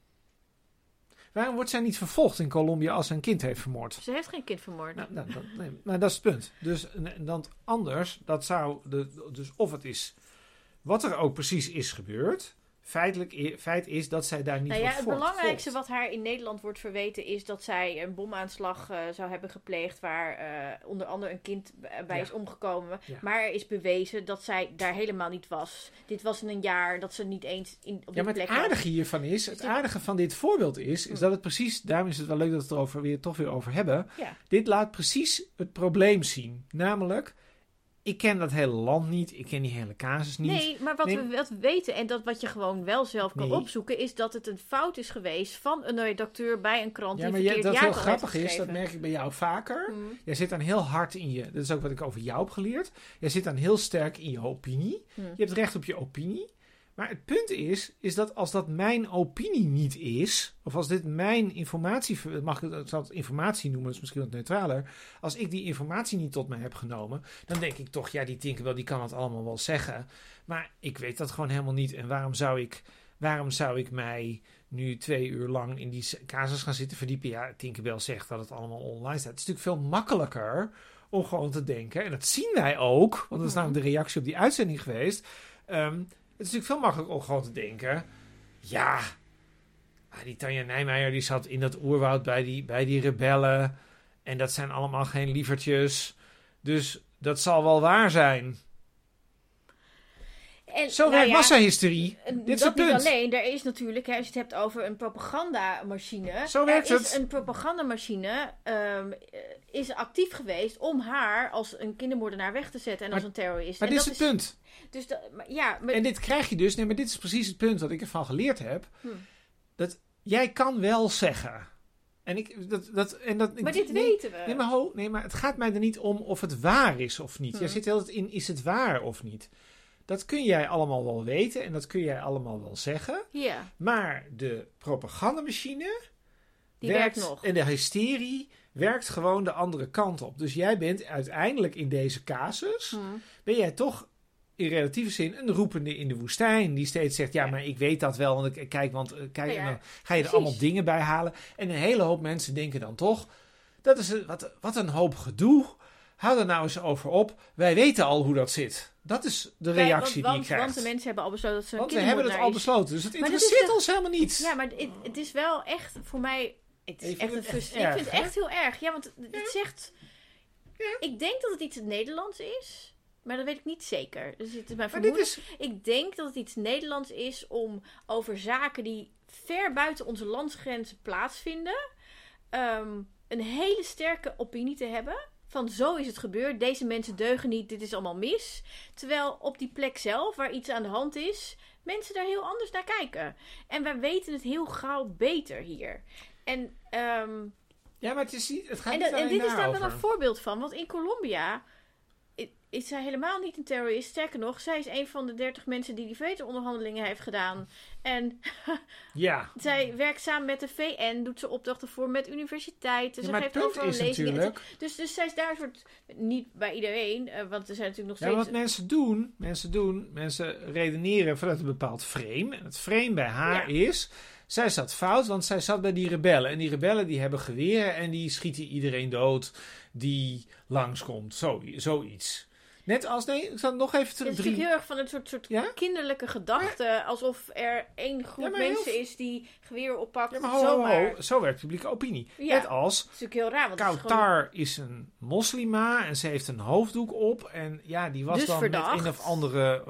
Waarom wordt zij niet vervolgd in Colombia als zij een kind heeft vermoord? Ze heeft geen kind vermoord. Nou, nou, dat, nee, maar dat is het punt. Dus en- en dan anders, dat zou. De, dus of het is. Wat er ook precies is gebeurd. Feitelijk, i- feit is dat zij daar niet Nou ja, wordt het vervolgd. belangrijkste wat haar in Nederland wordt verweten is dat zij een bomaanslag eh, zou hebben gepleegd waar eh, onder andere een kind b- eh, bij Ja. is omgekomen. Ja. Maar er is bewezen dat zij daar helemaal niet was. Dit was in een jaar dat ze niet eens in, op Ja, die maar plek het was. aardige hiervan is, het aardige van dit voorbeeld is, Mm. is dat het precies, daarom is het wel leuk dat we het erover weer toch weer over hebben. Ja. Dit laat precies het probleem zien. Namelijk, ik ken dat hele land niet, ik ken die hele casus niet. Nee, maar wat Nee. we wat we weten en dat wat je gewoon wel zelf kan Nee. opzoeken, is dat het een fout is geweest van een redacteur bij een krant ja, maar die je, verkeerd dat heel jaartal heeft grappig is, dat geschreven. merk ik bij jou vaker. Mm. Jij zit dan heel hard in je, dat is ook wat ik over jou heb geleerd. Jij zit dan heel sterk in je opinie. Hm. Je hebt recht op je opinie. Maar het punt is, is dat als dat mijn opinie niet is, of als dit mijn informatie, mag ik het, ik zal het informatie noemen, dat is misschien wat neutraler. Als ik die informatie niet tot me heb genomen, dan denk ik toch, ja, die Tinkerbell, die kan het allemaal wel zeggen. Maar ik weet dat gewoon helemaal niet. En waarom zou ik, waarom zou ik mij nu twee uur lang in die s- casus gaan zitten verdiepen? Ja, Tinkerbell zegt dat het allemaal online staat. Het is natuurlijk veel makkelijker om gewoon te denken. En dat zien wij ook, want dat is Mhm. namelijk de reactie op die uitzending geweest. Ehm, het is natuurlijk veel makkelijker om gewoon te denken. Ja, ah, die Tanja Nijmeijer die zat in dat oerwoud bij die, bij die rebellen. En dat zijn allemaal geen lievertjes. Dus dat zal wel waar zijn. En, Zo nou werkt ja, massahysterie. en Dit is dat het punt. niet alleen, er is natuurlijk, hè, als je het hebt over een propagandamachine. Zo werkt er is het. een propagandamachine ehm, eh, is actief geweest om haar als een kindermoordenaar weg te zetten en Maar- als een terrorist. Maar en dit is dat het punt. Dus dat, maar, ja, maar, En dit krijg je dus, nee, maar dit is precies het punt wat ik ervan geleerd heb. Hm. Dat jij kan wel zeggen. En ik, dat, dat, en dat, maar ik- dit nee, weten we. Nee maar, ho, nee, maar het gaat mij er niet om of het waar is of niet. Hm. Jij zit heel het in, is het waar of niet? Dat kun jij allemaal wel weten en dat kun jij allemaal wel zeggen. Ja, Maar de propagandamachine die werkt, nog. en de hysterie werkt gewoon de andere kant op. Dus jij bent uiteindelijk in deze casus Hm. ben jij toch in relatieve zin een roepende in de woestijn. Die steeds zegt, ja, Ja. maar ik weet dat wel. Want ik, kijk, want eh, kijk, Ja, en ja, dan ga je er precies. allemaal dingen bij halen. En een hele hoop mensen denken dan toch, dat is een, wat, wat een hoop gedoe. Hou er nou eens over op. Wij weten al hoe dat zit. Dat is de Kijk, reactie want, die want, je krijgt. Want de mensen hebben al besloten dat ze hun Want we kinderen hebben het al moeten naar besloten. Dus het Maar dit is interesseert de- ons helemaal niet. iets- Ja, maar het, het is wel echt voor mij... Het is Ik vind echt een het echt frustratie. Ik erg, vind het hè? echt heel erg. Ja, want het, het zegt... Ik denk dat het iets Nederlands is. Maar dat weet ik niet zeker. Dus het is mijn maar dit vermoeden. is, Ik denk dat het iets Nederlands is om over zaken die ver buiten onze landsgrenzen plaatsvinden, ehm, een hele sterke opinie te hebben. Van zo is het gebeurd, deze mensen deugen niet, dit is allemaal mis. Terwijl op die plek zelf, waar iets aan de hand is, mensen daar heel anders naar kijken. En wij weten het heel gauw beter hier. En, ehm, ja, maar het, is, niet- het gaat en, niet dat- en alleen dit is daar wel daarover. een voorbeeld van, want in Colombia i- is zij helemaal niet een terrorist. Sterker nog, zij is een van de 30 mensen die die VN-onderhandelingen heeft gedaan. En Ja. zij werkt samen met de VN, doet ze opdrachten voor met universiteiten. Ja, Ze maar het Dus geeft punt overal is lezingen. natuurlijk... Dus, dus zij is daar een soort, niet bij iedereen, eh, want er zijn natuurlijk nog Ja, wat steeds... mensen doen, mensen doen, mensen redeneren vanuit een bepaald frame. En het frame bij haar is, zij zat fout, want zij zat bij die rebellen. En die rebellen die hebben geweren en die schieten iedereen dood die langskomt. Zo, zoiets. Net als, nee, ik zal nog even Het is terug. natuurlijk Drie, heel erg van een soort, soort Ja? kinderlijke gedachte. Alsof er één groep Ja, maar heel mensen veel- is die geweer oppakt. ja, maar ho, ho, zomaar. ho, zo werkt publieke opinie. Ja. Net als, Dat is natuurlijk heel raar. Want het is gewoon- Kautar is een moslima en ze heeft een hoofddoek op. En ja, die was Dus dan met verdacht. een of andere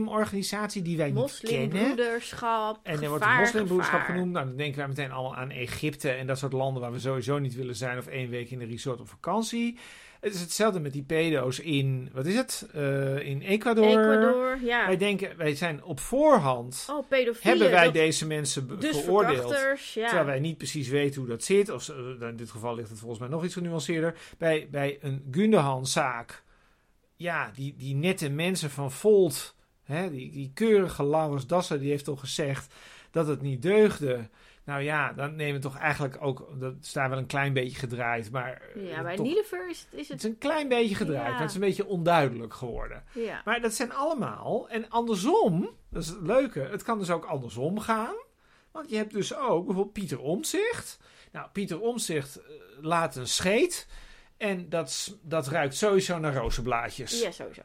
moslimorganisatie die wij niet kennen. moslimbroederschap. En er wordt de gevaar, moslimbroederschap gevaar. genoemd. Nou, dan denken wij meteen allemaal aan Egypte en dat soort landen waar we sowieso niet willen zijn. Of één week in een resort op vakantie. Het is hetzelfde met die pedo's in, wat is het? Eh, in Ecuador. Ecuador, ja. Wij denken, wij zijn op voorhand, Oh, pedofielen. hebben wij dat- deze mensen be- dus veroordeeld. verkrachters, ja. Terwijl wij niet precies weten hoe dat zit. Of, ze- eh, in dit geval ligt het volgens mij nog iets genuanceerder. Bij, bij een Gundehan-zaak. Ja, die, die nette mensen van Volt. Hè, die, die keurige Laurens Dasser. Die heeft al gezegd dat het niet deugde. Nou ja, dan nemen we toch eigenlijk ook... Dat is daar wel een klein beetje gedraaid. Maar eh, Ja, bij toch, Nilever is, is het is het... een klein beetje gedraaid. Ja. Maar het is een beetje onduidelijk geworden. Ja. Maar dat zijn allemaal. En andersom, dat is het leuke, het kan dus ook andersom gaan. Want je hebt dus ook bijvoorbeeld Pieter Omzicht. Nou, Pieter Omzicht laat een scheet. En dat, s- dat ruikt sowieso naar rozenblaadjes. ja, sowieso.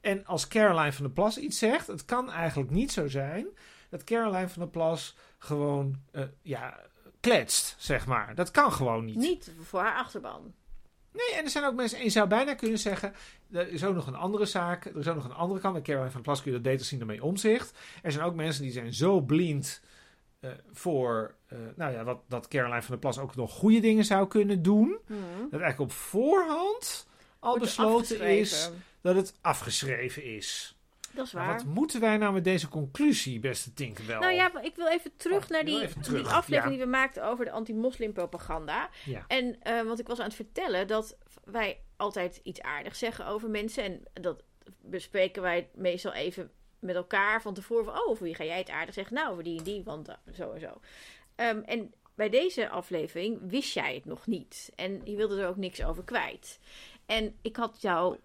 En als Caroline van der Plas iets zegt, het kan eigenlijk niet zo zijn dat Caroline van der Plas gewoon eh, ja, kletst, zeg maar. Dat kan gewoon niet. Niet voor haar achterban. Nee, en er zijn ook mensen, en je zou bijna kunnen zeggen, er is ook nog een andere zaak, er is ook nog een andere kant. En Caroline van der Plas kun je dat beter zien dan bij omzicht. Er zijn ook mensen die zijn zo blind eh, voor, eh, nou ja, wat, dat Caroline van der Plas ook nog goede dingen zou kunnen doen. Hm. Dat eigenlijk op voorhand Hmm. al Wordt besloten is afgeschreven. dat het afgeschreven is. Dat is Maar waar. wat moeten wij nou met deze conclusie, beste Tinkerbell? Nou ja, maar ik wil even terug Oh, naar heel die, even terug, die aflevering ja. die we maakten over de anti-moslimpropaganda. Ja. En eh, want ik was aan het vertellen dat wij altijd iets aardigs zeggen over mensen. En dat bespreken wij meestal even met elkaar van tevoren. Van, oh, over wie ga jij het aardig zeggen? Nou, over die en die, want eh, zo en zo. Ehm, en bij deze aflevering wist jij het nog niet. En je wilde er ook niks over kwijt. En ik had jou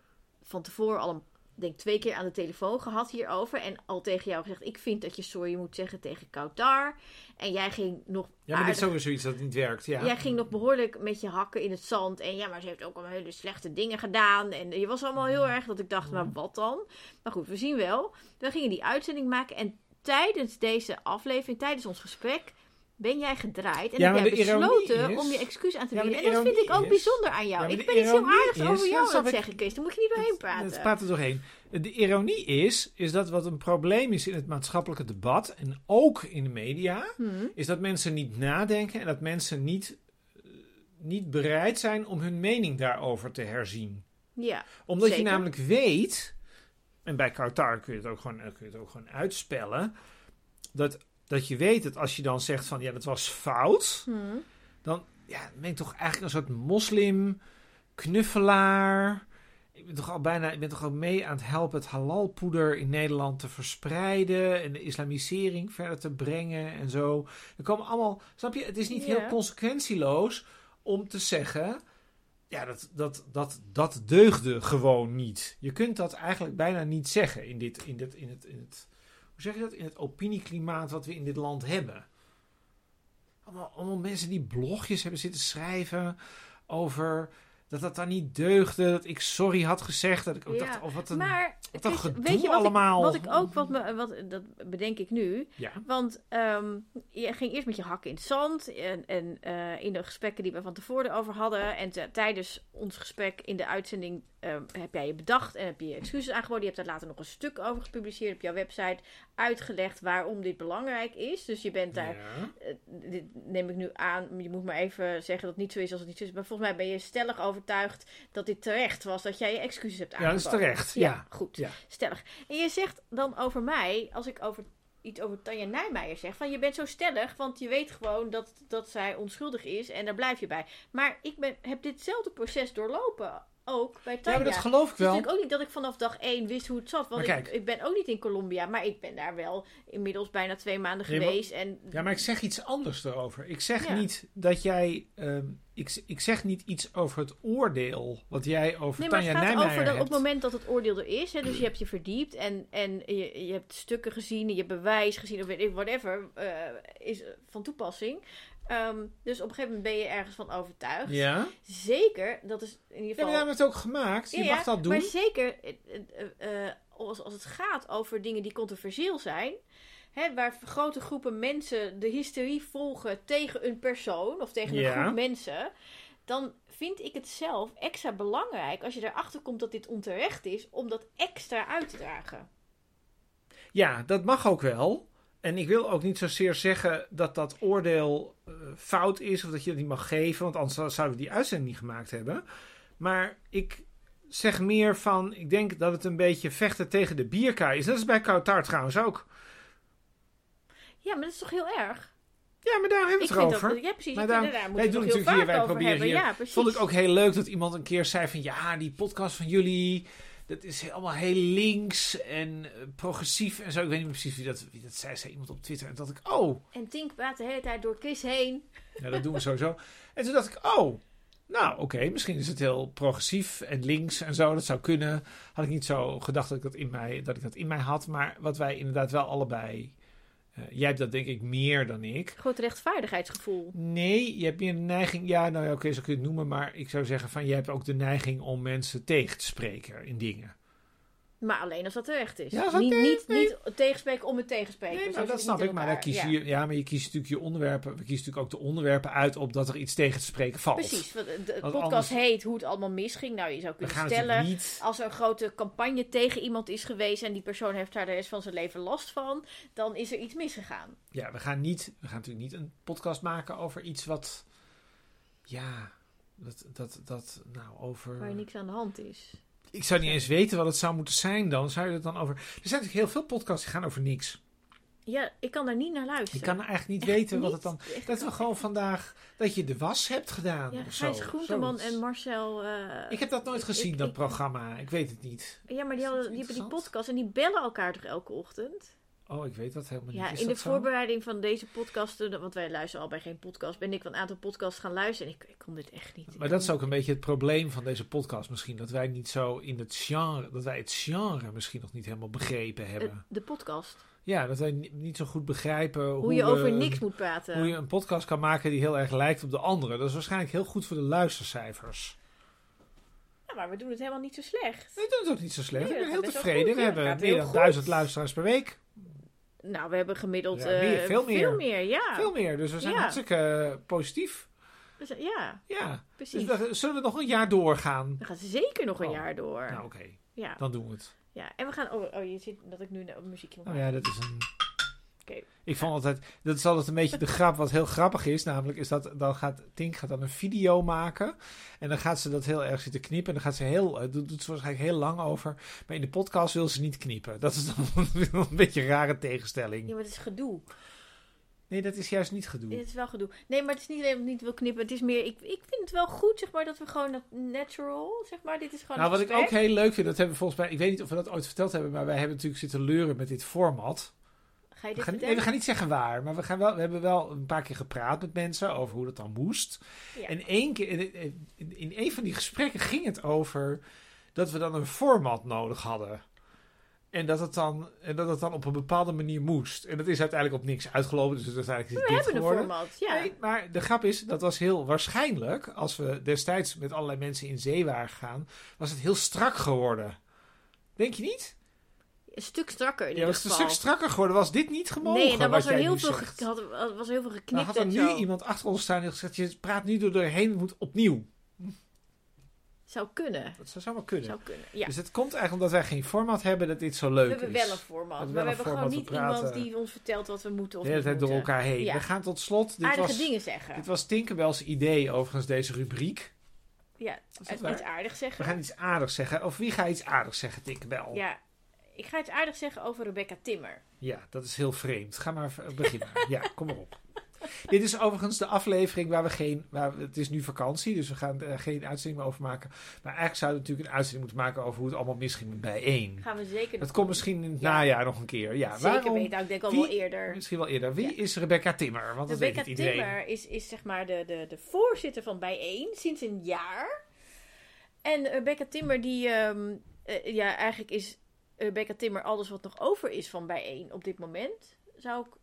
van tevoren al een, denk twee keer aan de telefoon gehad hierover. En al tegen jou gezegd, ik vind dat je sorry moet zeggen tegen Kautar. En jij ging nog ja, maar dit aardig is ook weer zoiets dat niet werkt. Ja. Jij ging nog behoorlijk met je hakken in het zand. En ja, maar ze heeft ook allemaal hele slechte dingen gedaan. En je was allemaal heel Mm. erg dat ik dacht, maar wat dan? Maar goed, we zien wel. We gingen die uitzending maken. En tijdens deze aflevering, tijdens ons gesprek, ben jij gedraaid. En Ja, maar heb jij de ironie besloten is- om je excuus aan te Ja, maar bieden. de en dat vind ik ironie ook is- bijzonder aan jou. Ja, maar ik de ben iets heel ironie aardigs is- over Ja, jou snap aan het ik. zeggen, Kees. Daar moet je niet doorheen praten. Het praat er doorheen. De ironie is, is dat wat een probleem is in het maatschappelijke debat en ook in de media, Hm. is dat mensen niet nadenken en dat mensen niet, eh, niet bereid zijn om hun mening daarover te herzien. Ja, Omdat je Zeker. namelijk weet, en bij Qatar kun je het ook gewoon, eh, kun je het ook gewoon uitspellen, dat, dat je weet dat als je dan zegt van ja, dat was fout, Hm. ja, dan ben ik toch eigenlijk een soort moslim, knuffelaar. Ik ben toch al bijna, ik ben toch ook mee aan het helpen het halalpoeder in Nederland te verspreiden en de islamisering verder te brengen en zo. Er komen allemaal, snap je, het is niet Ja. heel consequentieloos om te zeggen, Ja, dat, dat, dat, dat deugde gewoon niet. Je kunt dat eigenlijk bijna niet zeggen in, dit, in, dit, in, het, in het. Hoe zeg je dat? In het opinieklimaat wat we in dit land hebben. Allemaal, allemaal mensen die blogjes hebben zitten schrijven over dat dat dan niet deugde. Dat ik sorry had gezegd. Dat ik ook Ja, dacht, oh, wat een, maar wat het een is- gedoe weet je wat allemaal. Ik, wat ik ook, wat me, wat, dat bedenk ik nu. Ja, Want ehm, je ging eerst met je hakken in het zand. En, en eh, in de gesprekken die we van tevoren over hadden. En te- tijdens ons gesprek in de uitzending ehm, heb jij je bedacht. En heb je je excuses aangeboden. Je hebt daar later nog een stuk over gepubliceerd op jouw website. Uitgelegd waarom dit belangrijk is. Dus je bent daar ja. eh, dit neem ik nu aan. Je moet maar even zeggen dat het niet zo is als het niet zo is. Maar volgens mij ben je stellig overtuigd dat dit terecht was. Dat jij je excuses hebt ja dat aangeboden. is terecht. Ja, Ja. goed. Stellig. En je zegt dan over mij, als ik over iets over Tanja Nijmeijer zeg, van je bent zo stellig, want je weet gewoon dat, dat zij onschuldig is en daar blijf je bij. Maar ik ben, heb ditzelfde proces doorlopen, ook bij Ja, Tanja. maar dat geloof ik Het is wel. natuurlijk ook niet dat Dus ik vanaf dag één wist hoe het zat. Want Maar ik, kijk. ik ben ook niet in Colombia, maar ik ben daar wel inmiddels bijna twee maanden Nee, maar- geweest. En Ja, maar ik zeg iets anders erover. Ik zeg Ja. niet dat jij. ehm, ik, ik zeg niet iets over het oordeel wat jij over Nee, maar Tanja het gaat Nijmeijer over dat op hebt. het moment dat het oordeel er is. Hè, dus je hebt je verdiept en, en je, je hebt stukken gezien, en je hebt bewijs gezien, of weet ik, whatever, eh, is van toepassing. Ehm, dus op een gegeven moment ben je ergens van overtuigd. Ja? Zeker, dat is in ieder ja, maar geval... jij hebt het ook gemaakt. Je Ja, mag dat doen. Maar zeker eh, eh, eh, als, als het gaat over dingen die controversieel zijn. Hè, waar grote groepen mensen de hysterie volgen tegen een persoon of tegen een Ja. groep mensen. Dan vind ik het zelf extra belangrijk als je erachter komt dat dit onterecht is, om dat extra uit te dragen. Ja, dat mag ook wel. En ik wil ook niet zozeer zeggen dat dat oordeel eh, fout is of dat je dat niet mag geven, want anders zou- zouden we die uitzending niet gemaakt hebben. Maar ik zeg meer van, ik denk dat het een beetje vechten tegen de bierkaai is. Dat is bij Koutaart trouwens ook. Ja, maar dat is toch heel erg? Ja, maar daar hebben we Ik het vind over. dat. Ja, precies. Maar Maar daarom- daar, daar moet wij je doen het nog heel natuurlijk hier, vaak wij over proberen hebben. hier- Ja, precies. Vond ik ook heel leuk dat iemand een keer zei van ja, die podcast van jullie, dat is allemaal heel links en eh, progressief en zo. Ik weet niet meer precies wie dat, wie dat zei, zei iemand op Twitter. En toen dacht ik, oh, En Tink praat de hele tijd door Chris heen. ja, dat doen we sowieso. En toen dacht ik, oh, nou oké, misschien is het heel progressief en links en zo, dat zou kunnen. Had ik niet zo gedacht dat ik dat in mij, dat ik dat in mij had, maar wat wij inderdaad wel allebei, eh, jij hebt dat denk ik meer dan ik. Groot rechtvaardigheidsgevoel. Nee, je hebt meer de neiging. Ja, nou ja, oké, zo kun je het noemen. Maar ik zou zeggen van je hebt ook de neiging om mensen tegen te spreken in dingen. Maar alleen als dat terecht is. Ja, als dat niet, terecht niet, niet tegenspreken om het tegenspreken. Nee, Zo nou, zit dat het snap dus niet ik. in Maar dan elkaar. kies Ja. je, ja, maar je kiest natuurlijk je onderwerpen. We kiezen natuurlijk ook de onderwerpen uit op dat er iets tegen te spreken valt. Precies. want De, de Want podcast anders- heet Hoe het allemaal misging. Nou, je zou We kunnen gaan stellen. natuurlijk niet. Als er een grote campagne tegen iemand is geweest en die persoon heeft daar de rest van zijn leven last van, dan is er iets misgegaan. Ja, we gaan niet. We gaan natuurlijk niet een podcast maken over iets wat. Ja. Dat, dat, dat, nou, Waar over. niks aan de hand is. Ik zou niet eens weten wat het zou moeten zijn dan. Zou je het dan over. Er zijn natuurlijk heel veel podcasts die gaan over niks. Ja, ik kan daar niet naar luisteren. Ik kan eigenlijk niet weten wat het dan. Echt Dat we gewoon vandaag dat je de was hebt gedaan. Ja, of zo. Gijs Groenteman Zoiets. en Marcel. eh, Ik heb dat nooit ik- gezien, ik- dat ik- programma. Ik weet het niet. Ja, maar die, Is dat hadden, die hebben die interessant? podcast en die bellen elkaar toch elke ochtend? Oh, ik weet dat helemaal niet. Ja, Is in de dat zo? voorbereiding van deze podcast, toen- want wij luisteren al bij geen podcast, ben ik wel een aantal podcasts gaan luisteren. En ik, ik kon dit echt niet. eh, Maar dat is ook een beetje het probleem van deze podcast misschien. Dat wij niet zo in het genre, dat wij het genre misschien nog niet helemaal begrepen hebben. Eh, De podcast. ja, dat wij ni- niet zo goed begrijpen hoe, Hoe, je we- over niks moet eh. praten. Hoe je een podcast kan maken die heel erg lijkt op de andere. Dat is waarschijnlijk heel goed voor de luistercijfers. Ja, maar we doen het helemaal niet zo slecht. We doen het ook niet zo slecht. Nee, ik ben heel dat gaat best wel tevreden. goed, We ja. hebben Gaat meer heel dan goed. duizend luisteraars per week. Nou, we hebben gemiddeld Ja, eh, meer, veel meer. ja. Veel meer, dus we zijn Ja. hartstikke eh, positief. Dus, ja, Ja, dus precies. we- zullen we nog een jaar doorgaan? We gaan zeker nog een Oh. jaar door. Nou oké, Ja. dan doen we het. ja, en we gaan... Oh, oh, je ziet dat ik nu een muziekje moet Nou maken. ja, dat is een... Oké. Ik vond altijd, dat is altijd een beetje de grap, wat heel grappig is. Namelijk is dat, dan gaat Tink gaat dan een video maken. En dan gaat ze dat heel erg zitten knippen. En dan gaat ze heel, eh, doet, doet ze waarschijnlijk heel lang over. Maar in de podcast wil ze niet knippen. Dat is dan *laughs* een beetje een rare Ja, tegenstelling. maar het is gedoe. Nee, dat is juist niet gedoe. Het is wel gedoe. Nee, maar het is niet alleen omdat ik niet wil knippen. Het is meer... Ik, ik vind het wel goed, zeg maar, dat we gewoon dat natural, zeg maar. Dit is gewoon Nou, een wat ik ook gesprek. heel leuk vind, dat hebben we volgens mij, ik weet niet of we dat ooit verteld hebben, maar wij hebben natuurlijk zitten leuren met dit format. Ga je We gaan, dit nee, vertellen? we gaan niet zeggen waar, maar we, gaan wel, we hebben wel een paar keer gepraat met mensen over hoe dat dan moest. Ja. En één keer, in- in- in een van die gesprekken ging het over dat we dan een format nodig hadden. En dat, het dan, en dat het dan op een bepaalde manier moest. En dat is uiteindelijk op niks uitgelopen, dus het is eigenlijk we dit hebben een geworden. format, ja. Nee, maar de grap is, dat was heel waarschijnlijk, als we destijds met allerlei mensen in zee waren gegaan, was het heel strak geworden. Denk je niet? Een stuk strakker in Ja, ieder was het geval. een stuk strakker geworden. Was dit niet gemogen? Nee, dan wat was er, jij heel nu veel, zegt? ge- had, was er heel veel geknipt Dan had er en nu zo. iemand achter ons staan en gezegd, je praat nu door doorheen, moet opnieuw. Zou kunnen. Dat zou zomaar kunnen. Zou kunnen, ja. Dus het komt eigenlijk omdat wij geen format hebben dat dit zo leuk we hebben is. wel een format, We hebben maar we wel hebben een gewoon format, niet we praten- iemand die ons vertelt wat we moeten de of hele niet tijd door moeten. elkaar heen. eh, Ja. We gaan tot slot. Dit Aardige was, dingen zeggen. dit was Tinkerbell's idee, overigens, deze rubriek. Ja, dat uit- waar? iets aardigs We zeggen. gaan oh. iets aardigs zeggen. Of wie gaat iets aardigs zeggen, Tinkerbell? Ja, ik ga iets aardigs zeggen over Rebecca Timmer. Ja, dat is heel vreemd. Ga maar v- beginnen. *laughs* ja, kom maar op. Dit is overigens de aflevering waar we geen. Waar we- het is nu vakantie, dus we gaan er geen uitzending meer over maken. Maar eigenlijk zouden we natuurlijk een uitzending moeten maken over hoe het allemaal misging met bijeen. Gaan we zeker Dat nog komt misschien in het Ja. najaar nog een keer. Ja, zeker waarom? weten. Nou, ik denk al Wie- wel eerder. Misschien wel eerder. Wie Ja. is Rebecca Timmer? Want dat Rebecca weet niet iedereen. Timmer is, is zeg maar de, de, de voorzitter van Bijeen sinds een jaar. En Rebecca Timmer die... ehm, eh, ja, eigenlijk is Rebecca Timmer alles wat nog over is van Bijeen op dit moment. Zou ik...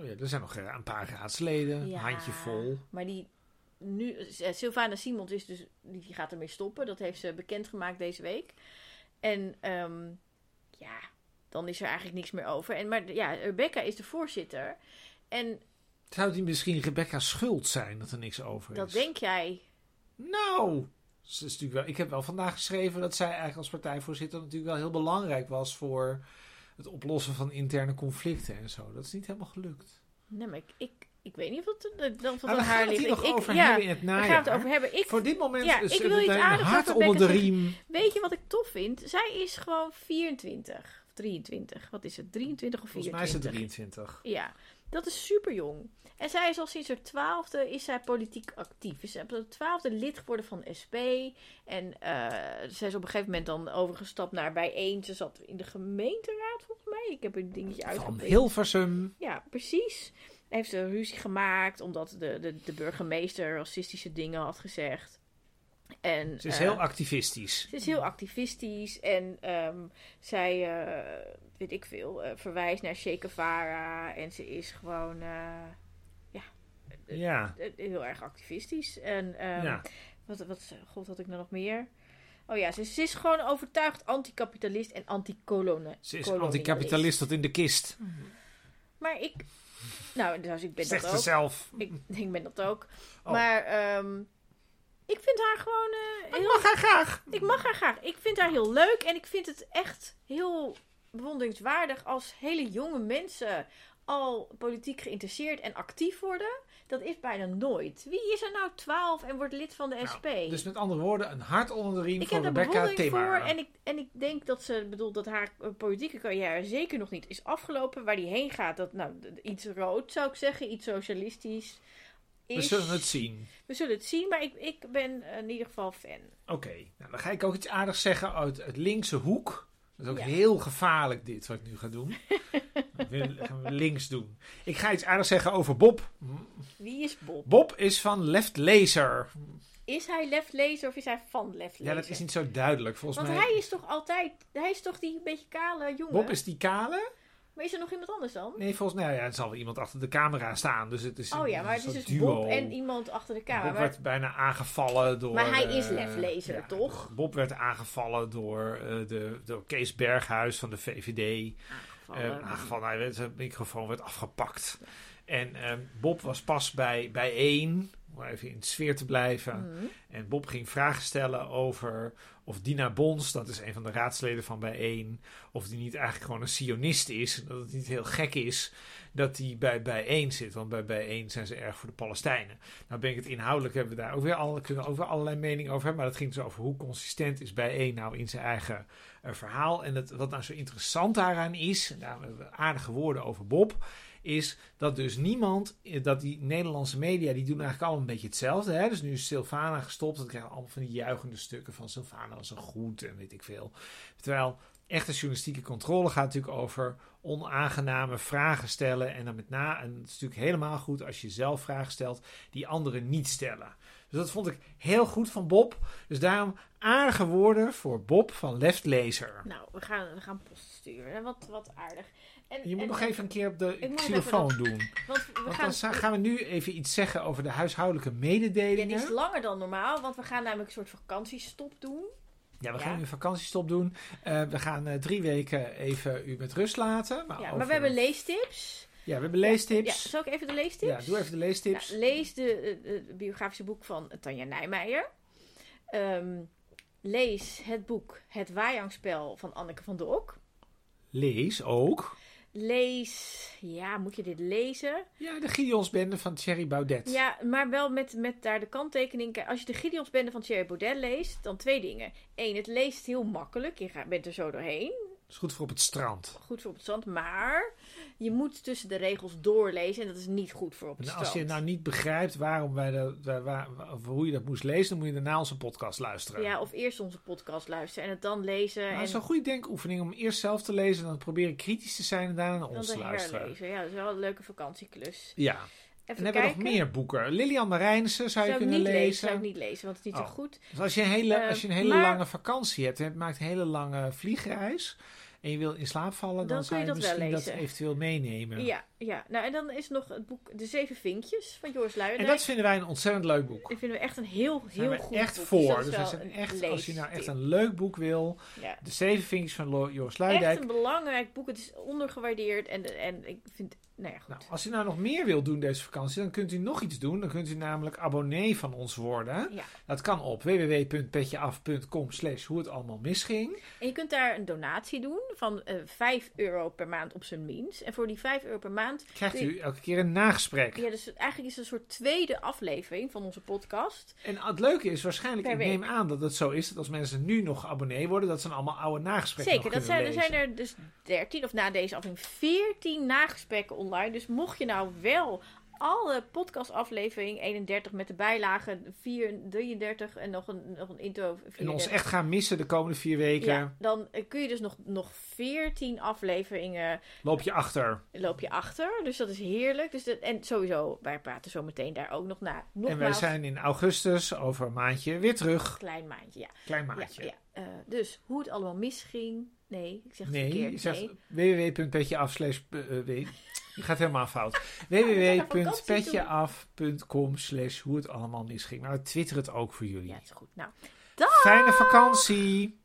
Oh ja, er zijn nog eh, een paar raadsleden. Ja, Handje vol. Maar die... Nu, eh, Sylvana Simons is dus, die gaat ermee stoppen. Dat heeft ze bekendgemaakt deze week. En ehm, ja, dan is er eigenlijk niks meer over. En, maar ja, Rebecca is de voorzitter. En Zou die misschien Rebecca schuld zijn dat er niks over is? dat denk jij. Nou, ze is natuurlijk wel, ik heb wel vandaag geschreven dat zij eigenlijk als partijvoorzitter natuurlijk wel heel belangrijk was voor het oplossen van interne conflicten en zo. Dat is niet helemaal gelukt. Nou, Nee, maar ik, ik, ik weet niet of het eh, dan van Maar we gaan haar het ligt. hier Ik, nog ik- over ja, hebben in het we najaar. gaan het over hebben. Ik, Voor dit moment ja, is ik het wil iets een aardigs hart over onder de Becca riem. Weet je wat ik tof vind? Zij is gewoon 24 of 23. Wat is het? 23 of 24? Volgens mij is het 23. Ja, dat is super jong. En zij is al sinds haar twaalfde is zij politiek actief. Is zij op haar twaalfde lid geworden van SP. En eh, zij is op een gegeven moment dan overgestapt naar bijeen. Ze zat in de gemeenteraad volgens mij. Ik heb een dingetje Van uitgeprint. Hilversum. Ja, precies. Heeft ze ruzie gemaakt omdat de, de, de burgemeester racistische dingen had gezegd. En, Ze is eh, heel activistisch. ze is heel activistisch en ehm, zij, eh, weet ik veel, eh, verwijst naar Shekevara. En ze is gewoon eh, Ja. eh, heel erg activistisch. En ehm, ja. wat, wat, god, had ik nou nog meer? Oh ja, ze, ze is gewoon overtuigd anticapitalist en antikolonialist. Ze is anticapitalist tot in de kist. Maar ik, nou, dus ik ben Zegt dat ze ook. zelf. Ik, ik ben dat ook. Oh. Maar ehm, ik vind haar gewoon eh, heel... Mag haar graag. Ik mag haar graag. Ik vind haar heel leuk. En ik vind het echt heel bewonderingswaardig als hele jonge mensen al politiek geïnteresseerd en actief worden. Dat is bijna nooit. Wie is er nou 12 en wordt lid van de Nou, SP? Dus met andere woorden, een hart onder de riem ik voor heb daar Rebecca bewondering Timmer. voor. En ik, en ik denk dat ze, ik bedoel, dat haar eh, politieke carrière zeker nog niet is afgelopen. Waar die heen gaat, dat, nou, d- iets rood zou ik zeggen, iets socialistisch. We is. zullen het zien. We zullen het zien, maar ik, ik ben eh, in ieder geval fan. Oké, nou, dan ga ik ook iets aardigs zeggen uit het linkse hoek. Dat is ook Ja. heel gevaarlijk dit wat ik nu ga *laughs* doen. Dat wil- gaan we links doen. Ik ga iets aardigs zeggen over Bob. Wie is Bob? Bob is van Left Laser. Is hij left laser of is hij van left Ja, laser? dat is niet zo duidelijk volgens Want mij. hij is toch altijd, hij is toch die beetje kale jongen? Bob is die kale? Maar is er nog iemand anders dan? Nee, volgens mij nou ja, er zal wel iemand achter de camera staan. Dus het is Oh een, ja, maar het is soort dus duo. Bob en iemand achter de Bob kamer. werd bijna aangevallen door... Maar hij is eh, Left Laser, toch? Bob werd aangevallen door, eh, de, door Kees Berghuis van de VVD. Aangevallen. Eh, aangevallen. Hij werd, zijn microfoon werd afgepakt. En eh, Bob was pas bij, bij één, om even in de sfeer te blijven. Mhm. En Bob ging vragen stellen over of Dina Bons, dat is een van de raadsleden van bijeen, of die niet eigenlijk gewoon een sionist is. en Dat het niet heel gek is dat die bij bijeen zit, want bij bijeen zijn ze erg voor de Palestijnen. Nou ben ik het inhoudelijk, hebben we daar ook weer, alle, kunnen we ook weer allerlei meningen over hebben, maar dat ging dus over hoe consistent is bijeen nou in zijn eigen eh, verhaal. En het, wat nou zo interessant daaraan is, en daar hebben we aardige woorden over Bob, is dat dus niemand, eh, dat die Nederlandse media, die doen eigenlijk allemaal een beetje hetzelfde. Hè? Dus nu is Sylvana gestopt, dan krijgen we allemaal van die juichende stukken van Sylvana was een goed en weet ik veel. Terwijl echte journalistieke controle gaat natuurlijk over onaangename vragen stellen. En dan met na, en het is natuurlijk helemaal goed als je zelf vragen stelt die anderen niet stellen. Dus dat vond ik heel goed van Bob. Dus daarom aardige woorden voor Bob van Left Lezer. Nou, we gaan, we gaan post sturen. Wat, wat aardig. En, Je moet en- nog even een keer op de Ik moet xylofoon even doen. Want we Want gaan, dan za- gaan we nu even iets zeggen over de huishoudelijke ja, die mededelingen. is langer dan normaal, want we gaan namelijk een soort vakantiestop doen. Ja, we Ja. gaan nu een vakantiestop doen. Eh, we gaan eh, drie weken even u met rust laten. Maar, Ja, maar over- we hebben leestips. ja, we hebben Ja, Ah, leestips. zal ik even de leestips? Ja, doe even de leestips. Nou, lees de, eh, eh, biografische boek van Tanja Nijmeijer. Ehm, lees het boek Het Waaijangspel van Anneke van der Ok. Lees ook. Lees, ja, moet je dit lezen? Ja, de Gideonsbende van Thierry Baudet. Ja, maar wel met, met daar de kanttekening. Kijk, Als je de Gideonsbende van Thierry Baudet leest, dan twee dingen. Eén, het leest heel makkelijk. Je gaat- bent er zo doorheen. is goed voor op het strand. Goed voor op het zand. Maar je moet tussen de regels doorlezen. En dat is niet goed voor op het En strand. als je nou niet begrijpt waarom wij de, waar, waar- of hoe je dat moest lezen, dan moet je daarna onze podcast luisteren. Ja, of eerst onze podcast luisteren en het dan lezen. Maar en het Nou, is een goede denkoefening om eerst zelf te lezen en dan proberen kritisch te zijn en daarna naar Dan ons te te luisteren. herlezen. Ja, dat is wel een leuke vakantieklus. Ja, en Even dan hebben we kijken. nog meer boeken. Lilian Marijnissen zou je zou ik kunnen niet lezen. lezen. Zou ik niet lezen, want het is niet Oh. zo goed. Dus als je een hele, Eh, als je een hele maar- lange vakantie hebt en het maakt een hele lange vliegreis en je wil in slaap vallen, dan, Dan kun zou je je, dat wel misschien dat lezen. eventueel meenemen. Ja. ja, Nou, en dan is nog het boek De Zeven Vinkjes van Joris En Luijendijk. dat vinden wij een ontzettend leuk boek. Dat vinden we echt een heel, Daar heel zijn goed we echt boek. voor. dat Dus is wij wel zijn een echt, als je nou echt leestip. een leuk boek wil, Ja. De Zeven Vinkjes van Lo- Joris Echt Luidijk. een belangrijk boek. Het is ondergewaardeerd. En, en ik vind... Nou ja, goed. Nou, als u nou nog meer wilt doen deze vakantie, dan kunt u nog iets doen. Dan kunt u namelijk abonnee van ons worden. Ja. Dat kan op www.petjeaf.com slash hoe het allemaal misging. En je kunt daar een donatie doen van eh 5 euro per maand op zijn minst. En voor die 5 euro per maand Krijgt Kun je- u elke keer een nagesprek. Ja, dus eigenlijk is het een soort tweede aflevering van onze podcast. En het leuke is waarschijnlijk, Per ik week. neem aan dat het zo is, dat als mensen nu nog abonnee worden, dat ze dan allemaal oude nagesprekken Zeker, nog dat zijn, er kunnen zijn lezen. er dus 13 of na deze aflevering 14 nagesprekken online. Dus mocht je nou wel alle podcastaflevering 31 met de bijlagen 4, 33 en nog een, nog een intro 34. En ons echt gaan missen de komende vier weken, Ja, dan eh, kun je dus nog, nog 14 afleveringen eh, loop je achter. loop je achter. Dus dat is heerlijk. Dus dat, en sowieso, wij praten zo meteen daar ook nog na. Nogmaals, En wij zijn in augustus, over een maandje, weer terug. een klein maandje. Ja. Klein Ja, maandje. ja. Eh, dus hoe het allemaal misging. Nee, ik zeg het Nee, je zegt verkeerd. nee. www.petjeaf slash... eh, eh, weet- Je gaat helemaal *laughs* fout. www.petjeaf.com slash hoe het allemaal misging. Maar we twitteren het ook voor jullie. Ja, het is goed. Nou, Fijne vakantie!